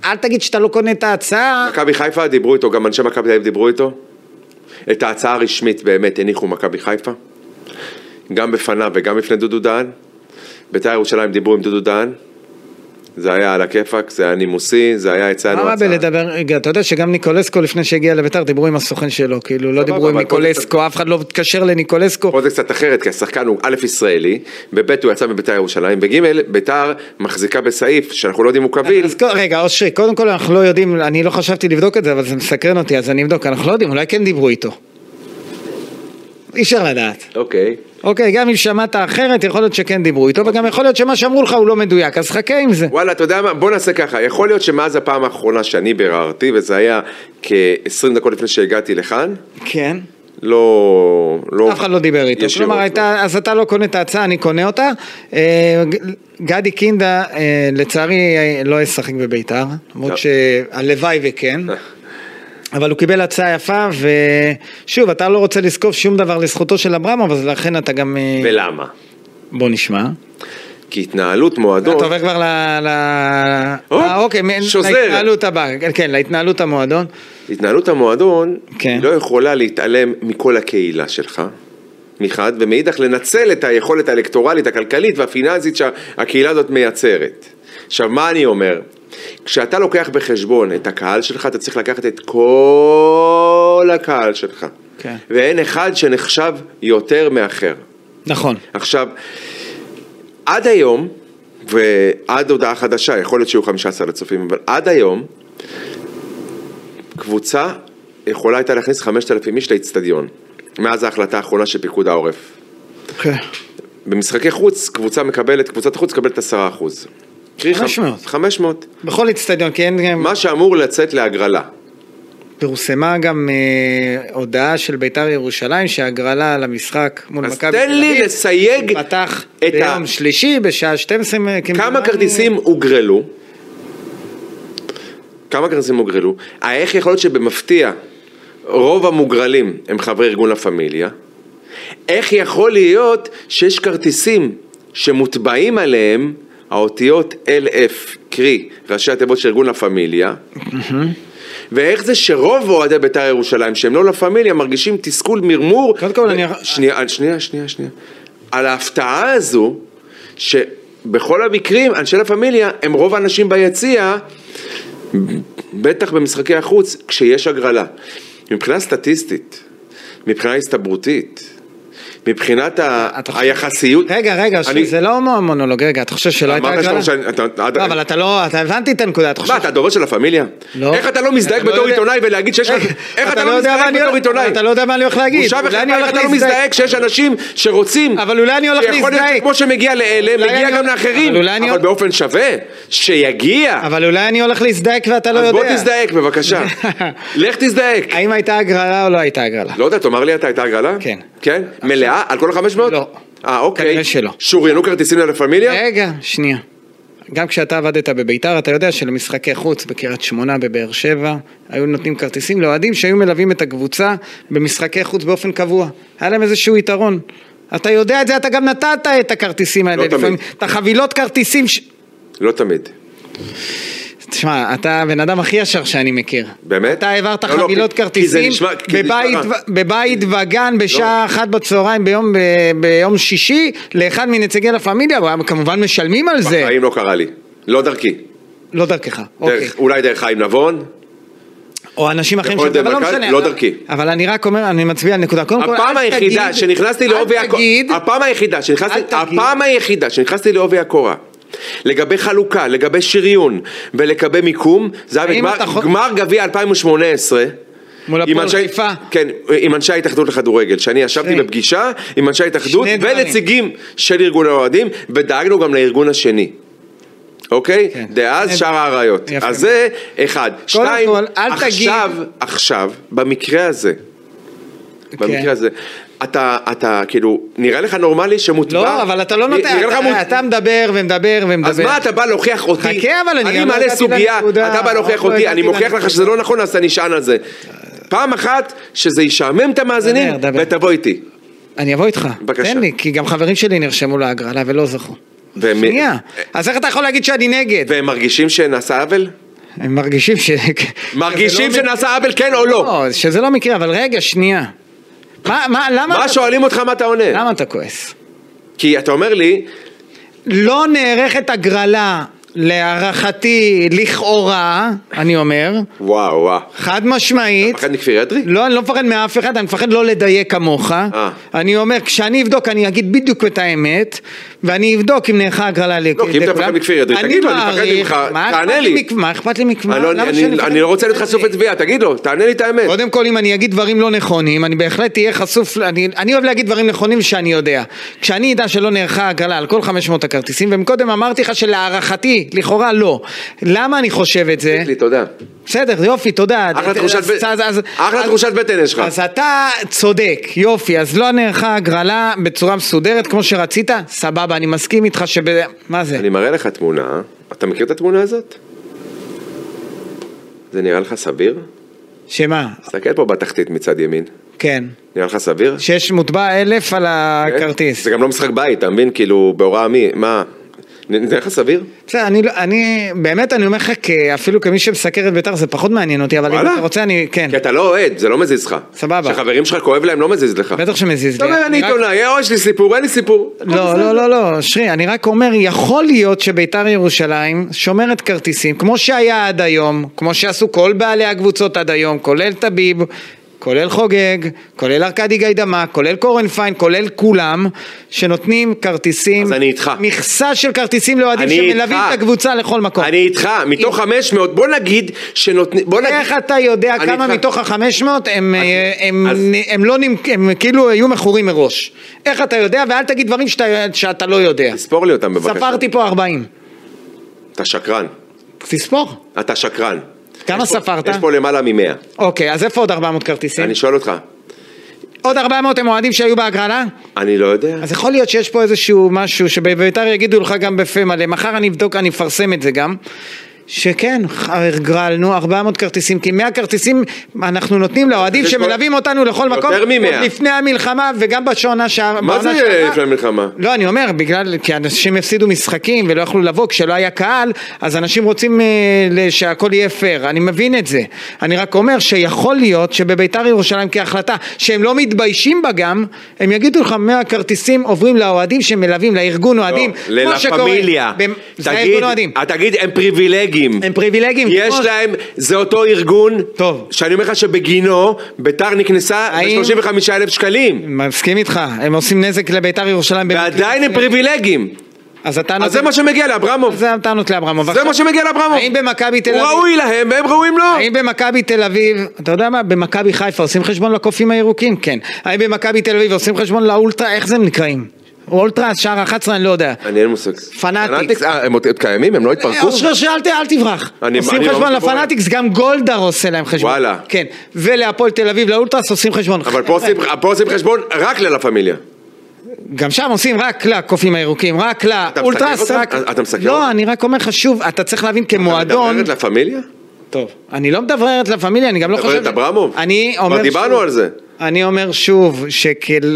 B: אל תגיד שאתה לא קונה את ההצעה.
C: מכבי חיפה דיברו איתו, גם אנשי מכבי תל אביב דיברו איתו. את ההצעה הרשמית באמת הניחו מכבי חיפה. גם בפניו וגם בפני דודו דהן. בית"ר ירושלים דיברו עם דודו דהן. זה היה על הכיפאק, זה היה נימוסי, זה היה הצענו
B: מה
C: כן, לא הצעה.
B: בלדבר, רגע, אתה יודע שגם ניקולסקו לפני שהגיע לביתר דיברו עם הסוכן שלו, כאילו לא
C: סבבה,
B: דיברו עם
C: אבל פה זה
B: ניקולסקו, אף אחד לא התקשר לניקולסקו,
C: פה זה קצת אחרת, כי השחקן הוא א' ישראלי, וב' הוא יצא מבית"ר ירושלים, וג' בית"ר מחזיקה בסעיף, שאנחנו לא יודעים אם הוא קביל.
B: אז כל- רגע, אושרי, קודם כל אנחנו לא יודעים, אני לא חשבתי לבדוק את זה, אבל זה מסקרן אותי, אז אני אבדוק, אנחנו לא יודעים, אולי כן דיברו איתו. אי אפשר לדעת.
C: אוקיי.
B: אוקיי, גם אם שמעת אחרת, יכול להיות שכן דיברו איתו, וגם יכול להיות שמה שאמרו לך הוא לא מדויק, אז חכה עם זה.
C: וואלה, אתה יודע מה? בוא נעשה ככה. יכול להיות שמאז הפעם האחרונה שאני ביררתי, וזה היה כ-20 דקות לפני שהגעתי לכאן,
B: כן.
C: לא... לא
B: אף אחד לא דיבר איתו.
C: ישירות,
B: כלומר,
C: לא.
B: הייתה, אז אתה לא קונה את ההצעה, אני קונה אותה. אה, ג- גדי קינדה, אה, לצערי, אה, לא ישחק בביתר, למרות
C: טוב.
B: שהלוואי וכן. אבל הוא קיבל הצעה יפה, ושוב, אתה לא רוצה לזקוף שום דבר לזכותו של אברמוב, אז לכן אתה גם... אה,
C: ולמה?
B: בוא נשמע.
C: כי התנהלות
B: אתה
C: מועדון...
B: עובר כבר ל... ל...
C: הופ,
B: אה, אוקיי, מ-
C: שוזר.
B: להתנהלות הבאה, כן, כן, להתנהלות המועדון.
C: התנהלות המועדון
B: כן.
C: לא יכולה להתעלם מכל הקהילה שלך. מחד, ומאידך לנצל את היכולת האלקטורלית, הכלכלית והפיננסית שהקהילה הזאת מייצרת. עכשיו, מה אני אומר? כשאתה לוקח בחשבון את הקהל שלך, אתה צריך לקחת את כל הקהל שלך.
B: כן.
C: ואין אחד שנחשב יותר מאחר.
B: נכון.
C: עכשיו, עד היום, ועד הודעה חדשה, יכול להיות שיהיו 15 לצופים, אבל עד היום, קבוצה יכולה הייתה להכניס 5,000 איש לאיצטדיון, מאז ההחלטה האחרונה של פיקוד העורף.
B: כן.
C: במשחקי חוץ, קבוצה מקבלת, קבוצת חוץ מקבלת 10%. קרי,
B: 500.
C: 500.
B: בכל איצטדיון, כי אין...
C: מה שאמור לצאת להגרלה.
B: פורסמה גם אה, הודעה של בית"ר ירושלים שהגרלה על המשחק מול
C: אז
B: מכבי
C: תן לי לסייג
B: פתח
C: את ה-
B: ביום שלישי בשעה 12.
C: כמה
B: כמדומני.
C: כרטיסים הוגרלו? כמה כרטיסים הוגרלו? אה, איך יכול להיות שבמפתיע רוב המוגרלים הם חברי ארגון לה פמיליה? איך יכול להיות שיש כרטיסים שמוטבעים עליהם האותיות LF, קרי ראשי התיבות של ארגון לה פמיליה? ואיך זה שרוב אוהדי בית"ר ירושלים שהם לא לה פמיליה מרגישים תסכול, מרמור?
B: קודם כל,
C: ו-
B: אני-
C: שנייה, אה, שנייה, שנייה, שנייה. על ההפתעה הזו, שבכל המקרים אנשי לה פמיליה הם רוב האנשים ביציע, בטח במשחקי החוץ, כשיש הגרלה. מבחינה סטטיסטית, מבחינה הסתברותית, מבחינת ה-
B: אתה חושב-
C: היחסיות...
B: רגע, רגע,
C: אני-
B: זה לא מו- מונולוג, רגע, אתה חושב שלא הייתה
C: אמרת
B: הגרלה?
C: שאתה- אתה- אתה-
B: לא, אבל אתה לא, אתה הבנתי את הנקודה, אתה חושב...
C: מה, אתה דורש של הפמיליה?
B: לא.
C: איך אתה לא מזדעק
B: אתה לא
C: בתור
B: יודע-
C: עיתונאי ולהגיד שיש לך... איך אתה לא
B: יודע מה
C: מזדעק
B: אני
C: בתור
B: הולך-
C: עיתונאי?
B: אתה לא יודע מה אני הולך להגיד.
C: בושה
B: אולי אני
C: וחרפה, איך
B: הולך
C: אתה לא
B: להזדעק.
C: מזדעק שיש אנשים שרוצים...
B: אבל אולי אני הולך
C: שיכול להיות
B: להזדעק.
C: שכמו שמגיע לאלה,
B: אולי
C: מגיע
B: אני
C: גם
B: הולך-
C: לאחרים,
B: אבל אולי אני
C: אבל
B: הולך-
C: באופן שווה, שיגיע.
B: אבל אולי אני הולך להזדעק ואתה לא
C: אז
B: יודע.
C: בוא תזדעק בבקשה. לך תזדעק.
B: האם הייתה הגרלה או לא הייתה הגרלה?
C: לא יודע, תאמר לי אתה, הייתה הגרלה?
B: כן.
C: כן? מלאה? על כל ה-500?
B: לא.
C: אה, אוקיי.
B: כנראה שלא. אה?
C: שוריינו כרטיסים ללה פמיליה?
B: רגע, שנייה. גם כשאתה עבדת בביתר, אתה יודע שלמשחקי חוץ בקריית שמונה, בבאר שבע, היו נותנים כרטיסים לאוהדים שהיו מלווים את הקבוצה במשחקי חוץ באופן קבוע. היה להם איזשהו יתרון. אתה יודע את זה, אתה גם נתת את הכרטיסים האלה.
C: לא תמיד.
B: לפעמים. את החבילות כרטיסים... ש...
C: לא תמיד.
B: תשמע, אתה הבן אדם הכי ישר שאני מכיר.
C: באמת?
B: אתה העברת
C: לא, לא,
B: חבילות
C: כי- כי זה
B: כרטיסים
C: נשמע- כי
B: בבית
C: נשמע רע. לא.
B: ו- בבית וגן בשעה אחת בצהריים ביום- ב- ביום שישי לאחד מנציגי לה פמיליה, והם כמובן משלמים על זה.
C: בחיים לא קרה לי. לא דרכי.
B: לא דרכך, אוקיי.
C: דרך- אולי דרך חיים נבון?
B: או אנשים אחרים
C: יכול להיות
B: אבל
C: דרך
B: משנה.
C: לא
B: אבל-
C: דרכי.
B: אבל אני רק אומר, אני מצביע על נקודה. קודם כל,
C: הפעם
B: אל
C: היחידה
B: תגיד-
C: שנכנסתי לעובי
B: אל
C: הקורה,
B: תגיד,
C: הפעם היחידה שנכנסתי,
B: אל תגיד.
C: הפעם היחידה שנכנסתי לעובי הקורה, לגבי חלוקה, לגבי שריון ולגבי מיקום, זה היה
B: האם
C: בגמר
B: אתה חו-
C: גמר גביע 2018.
B: מול
C: עם
B: הפועל
C: אנשי-
B: חיפה.
C: כן, עם אנשי ההתאחדות לכדורגל, שאני ישבתי
B: שני.
C: בפגישה עם אנשי ההתאחדות
B: שני דברים.
C: ונציגים של ארגון האוהדים, ודאגנו גם לארגון השני. אוקיי?
B: כן.
C: דאז
B: שני-
C: שאר האריות.
B: יפה
C: אז זה אחד. שתיים,
B: כל, אל תגיד-
C: עכשיו, עכשיו, במקרה הזה,
B: כן.
C: במקרה הזה. אתה, אתה, כאילו, נראה לך נורמלי שמוטבע?
B: לא, אבל אתה לא
C: נ-
B: נותן,
C: נראה לך
B: אתה-
C: מוט-
B: אתה מדבר ומדבר ומדבר.
C: אז מה אתה בא להוכיח אותי?
B: חכה, אבל אני גם לא
C: מעלה
B: הגעתי
C: סוגיה,
B: לנקודה,
C: אתה בא להוכיח
B: עוד לא
C: אותי,
B: הגעתי
C: אני מוכיח לך
B: לנקודה.
C: שזה לא נכון, אז אתה נשען על זה. פעם אחת, שזה ישעמם את המאזינים,
B: דבר, דבר.
C: ותבוא איתי.
B: אני אבוא איתך.
C: בבקשה.
B: תן לי, כי גם חברים שלי נרשמו להגרלה ולא זכו.
C: והם-
B: שנייה. אז איך אתה יכול להגיד שאני נגד?
C: והם מרגישים שנעשה עוול?
B: הם מרגישים ש...
C: מרגישים
B: שזה לא
C: שנעשה עוול כן או
B: מקרה-
C: לא?
B: לא, שזה לא מקרה, אבל רגע, שנייה. מה, מה, למה...
C: מה
B: אתה-
C: שואלים אותך מה אתה עונה?
B: למה אתה כועס?
C: כי אתה אומר לי,
B: לא נערכת הגרלה, להערכתי, לכאורה, אני אומר,
C: וואו וואו.
B: חד משמעית.
C: פחד מכפיר אדרי?
B: לא, אני לא מפחד מאף אחד, אני מפחד לא לדייק כמוך.
C: אה.
B: אני אומר, כשאני אבדוק, אני אגיד בדיוק את האמת, ואני אבדוק אם נערכה הגרלה לכולם.
C: לא, כי אם אתה מפחד מכפיר אדרי, תגיד לו, אני מפחד
B: מעריך-
C: ממך,
B: מה
C: תענה
B: אכפת
C: לי.
B: מכ- מה אכפת לי מכמה?
C: אני לא-
B: למה
C: אני-
B: שאני אה, מפחד
C: אני לא רוצה להיות
B: מכמה?
C: חשוף לתביעה, תגיד לו, תענה לי את האמת.
B: קודם כל, אם אני אגיד דברים לא נכונים, אני בהחלט אהיה חשוף, ל- אני, אני אוהב להגיד דברים נכונים שאני יודע. כשאני אדע שלא נערכה הגרלה על כל 500 הכרטיסים, ומקודם אמרתי לך שלהערכתי, לכאורה לא. למה אני חושב את זה?
C: תגיד לי, תודה.
B: בסדר, יופי, תודה.
C: אחלה
B: אז-
C: תחושת
B: אז-
C: ב-
B: אז- אז-
C: אחלה
B: אז-
C: תחושת בטן יש לך.
B: אז אתה צודק, יופי, אז לא נערכה הגרלה בצורה מסודרת כמו שרצית, סבבה, אני מסכים איתך שב... מה זה?
C: אני מראה לך תמונה, אתה מכיר את התמונה הזאת? זה נראה לך סביר?
B: שמה?
C: תסתכל פה בתחתית מצד ימין,
B: כן.
C: נראה לך סביר?
B: שיש מוטבע אלף על הכרטיס.
C: זה גם לא משחק בית, אתה מבין? כאילו, בהוראה מי, מה? נ- נראה לך סביר?
B: בסדר, אני, לא- אני, באמת אני אומר לך, כ- אפילו כמי שמסקר את בית"ר זה פחות מעניין אותי, אבל אם
C: וואלה.
B: אתה רוצה אני, כן,
C: כי אתה לא אוהד, זה לא מזיז לך.
B: סבבה.
C: כשחברים שלך כואב להם, לא מזיז לך.
B: בטח שמזיז
C: אתה
B: לי.
C: אומר, אני
B: רק-
C: עיתונאי, אוקיי, אה, יש לי סיפור, אין לי סיפור.
B: לא, לא, לא, לא, שרי, אני רק אומר, יכול להיות שביתר ירושלים שומרת כרטיסים, כמו שהיה עד היום, כמו שעשו כל בעלי הקבוצות עד היום, כולל טביב, כולל חוגג, כולל ארכדי גיידמק, כולל קורנפיין, כולל כולם, שנותנים כרטיסים.
C: אז אני איתך.
B: מכסה של כרטיסים לאוהדים
C: אני
B: שמלווים
C: איתך.
B: את הקבוצה לכל מקום.
C: אני איתך, מתוך 500, בוא נגיד שנותנים, בוא נגיד...
B: איך אתה יודע
C: אני
B: כמה
C: איתך.
B: מתוך החמש מאות הם
C: אז-
B: אה, הם-
C: אז-
B: הם לא נמכ... הם כאילו היו מכורים מראש? איך אתה יודע? ואל תגיד דברים שאתה- שאתה לא יודע.
C: תספור לי אותם בבקשה.
B: ספרתי פה 40.
C: אתה שקרן,
B: תספור.
C: אתה שקרן.
B: כמה
C: יש פה-
B: ספרת?
C: יש פה למעלה ממאה.
B: אוקיי, אז איפה עוד 400 כרטיסים?
C: אני שואל אותך,
B: עוד 400 הם אוהדים שהיו בהגרלה?
C: אני לא יודע.
B: אז יכול להיות שיש פה איזשהו משהו שבביתר יגידו לך גם בפה מלא. מחר אני אבדוק, אני אפרסם את זה גם. שכן, הגרלנו 400 כרטיסים, כי 100 כרטיסים אנחנו נותנים לאוהדים
C: יש פה-
B: שמלווים אותנו לכל
C: יותר
B: מקום.
C: מ- 100.
B: עוד לפני המלחמה וגם בשעונה שעברה.
C: מה זה
B: בעונה שעברה.
C: לפני המלחמה?
B: לא, אני אומר, בגלל, כי אנשים הפסידו משחקים ולא יכלו לבוא כשלא היה קהל, אז אנשים רוצים אה, ל- שהכל יהיה פייר, אני מבין את זה. אני רק אומר שיכול להיות שבביתר ירושלים כהחלטה, שהם לא מתביישים בה גם, הם יגידו לך, מהכרטיסים עוברים לאוהדים שמלווים, לארגון אוהדים,
C: ללה
B: כמו שקורה.
C: לא, פמיליה.
B: במ- זה
C: תגיד-
B: הארגון אוהדים.
C: אה, תגיד, הם פריבילגים. פריבילגים.
B: הם פריבילגים,
C: יש
B: כמו-
C: להם, זה אותו ארגון,
B: טוב.
C: שאני אומר לך שבגינו ביתר נכנסה
B: האם-
C: ב-35 אלף שקלים,
B: מסכים איתך, הם עושים נזק לביתר ירושלים. במקרים
C: ועדיין הם
B: מסוימים.
C: פריבילגים.
B: אז הטענות...
C: אז זה מה שמגיע לאברמוב,
B: זה הטענות לאברמוב.
C: זה
B: עכשיו-
C: מה שמגיע לאברמוב.
B: האם במכבי תל
C: הוא
B: אביב...
C: ראוי להם והם ראויים לו.
B: האם במכבי תל אביב, אתה יודע מה, במכבי חיפה עושים חשבון לקופים הירוקים? כן. האם במכבי תל אביב עושים חשבון לאולטרה, איך זה הם נקראים? אולטרה, שער 11, אני לא יודע.
C: אני אין לי מושג.
B: פנאטיקס.
C: אה, הם עוד עוד קיימים? הם לא התפרקו?
B: אושר, שאל ת- אל תברח.
C: אני-
B: עושים
C: אני לא
B: חשבון
C: מתבורר.
B: לפנאטיקס, גם גולדהר עושה להם חשבון.
C: וואלה.
B: כן. ולהפועל תל אביב, לאולטרס עושים חשבון.
C: אבל פה עושים- פה עושים חשבון רק ללה פמיליה.
B: גם שם עושים רק לקופים הירוקים, רק לאולטרס,
C: מסקר
B: רק...
C: אותם? אתה מסקר אותם?
B: לא, אני רק אומר לך שוב, אתה צריך להבין
C: אתה
B: כמועדון...
C: מדברת לה
B: לא
C: פמיליה?
B: טוב, אני לא מדבררת לה פמיליה, אני גם לא חושב...
C: מדברת אברמוב?
B: אני
C: כבר
B: אומר שוב...
C: דיברנו על זה.
B: אני אומר שוב,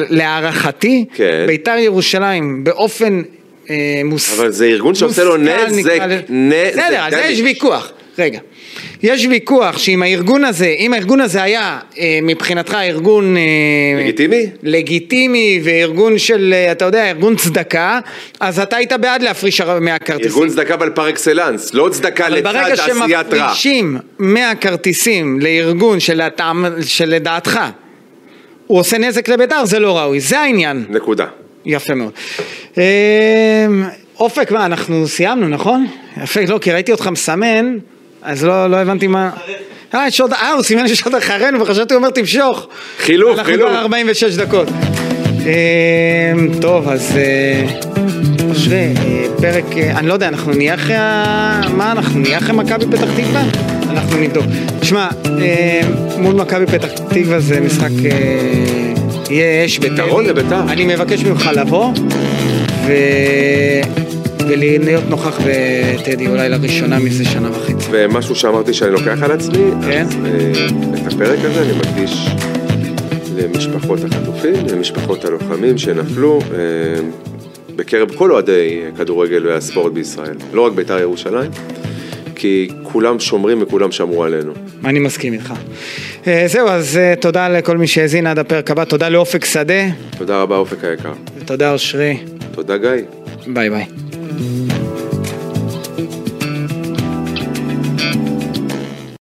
B: שלהערכתי,
C: כן.
B: ביתר ירושלים באופן אה, מוס...
C: אבל זה ארגון שעושה לו
B: מושכל,
C: נזק,
B: נקרא לזה.
C: נזק,
B: בסדר, על זה
C: דני.
B: יש ויכוח. רגע. יש ויכוח שאם הארגון הזה, אם הארגון הזה היה אה, מבחינתך ארגון... אה,
C: לגיטימי?
B: לגיטימי וארגון של, אה, אתה יודע, ארגון צדקה, אז אתה היית בעד להפריש הר- מהכרטיסים.
C: ארגון צדקה אבל פר אקסלנס, לא צדקה
B: אבל
C: לצד
B: ברגע
C: עשיית רע.
B: שמפרישים 100 כרטיסים לארגון שלטעם, שלדעתך הוא עושה נזק לבית"ר, זה לא ראוי, זה העניין.
C: נקודה.
B: יפה מאוד. אמ, אופק, מה, אנחנו סיימנו, נכון? יפה, לא, כי ראיתי אותך מסמן, אז לא, לא הבנתי מה... אה, יש עוד... אה, הוא סימן שיש עוד אחרינו, וחשבתי הוא אומר תמשוך.
C: חילוף,
B: אנחנו
C: חילוף.
B: כבר 46 דקות. אמ, טוב, אז... אה, אושרי, אה, פרק... אה, אני לא יודע, אנחנו נהיה אחרי ה... מה, אנחנו נהיה אחרי מכבי פתח תקווה? אנחנו נבדוק. תשמע, אה, מול מכבי פתח תקווה זה משחק... אה, יהיה אש בטדי.
C: יתרון לבית"ר.
B: אני מבקש ממך לבוא ו... ולהיות נוכח בטדי אולי לראשונה מזה שנה וחצי.
C: ומשהו שאמרתי שאני לוקח על עצמי,
B: כן.
C: אז אה, את הפרק הזה אני מקדיש למשפחות החטופים, למשפחות הלוחמים שנפלו, אה, בקרב כל אוהדי הכדורגל והספורט בישראל, לא רק בית"ר ירושלים, כי כולם שומרים וכולם שמרו עלינו.
B: אני מסכים איתך. אה, זהו, אז אה, תודה לכל מי שהאזין עד הפרק הבא, תודה לאופק שדה,
C: תודה רבה אופק היקר.
B: ותודה אושרי.
C: תודה גיא.
B: ביי ביי.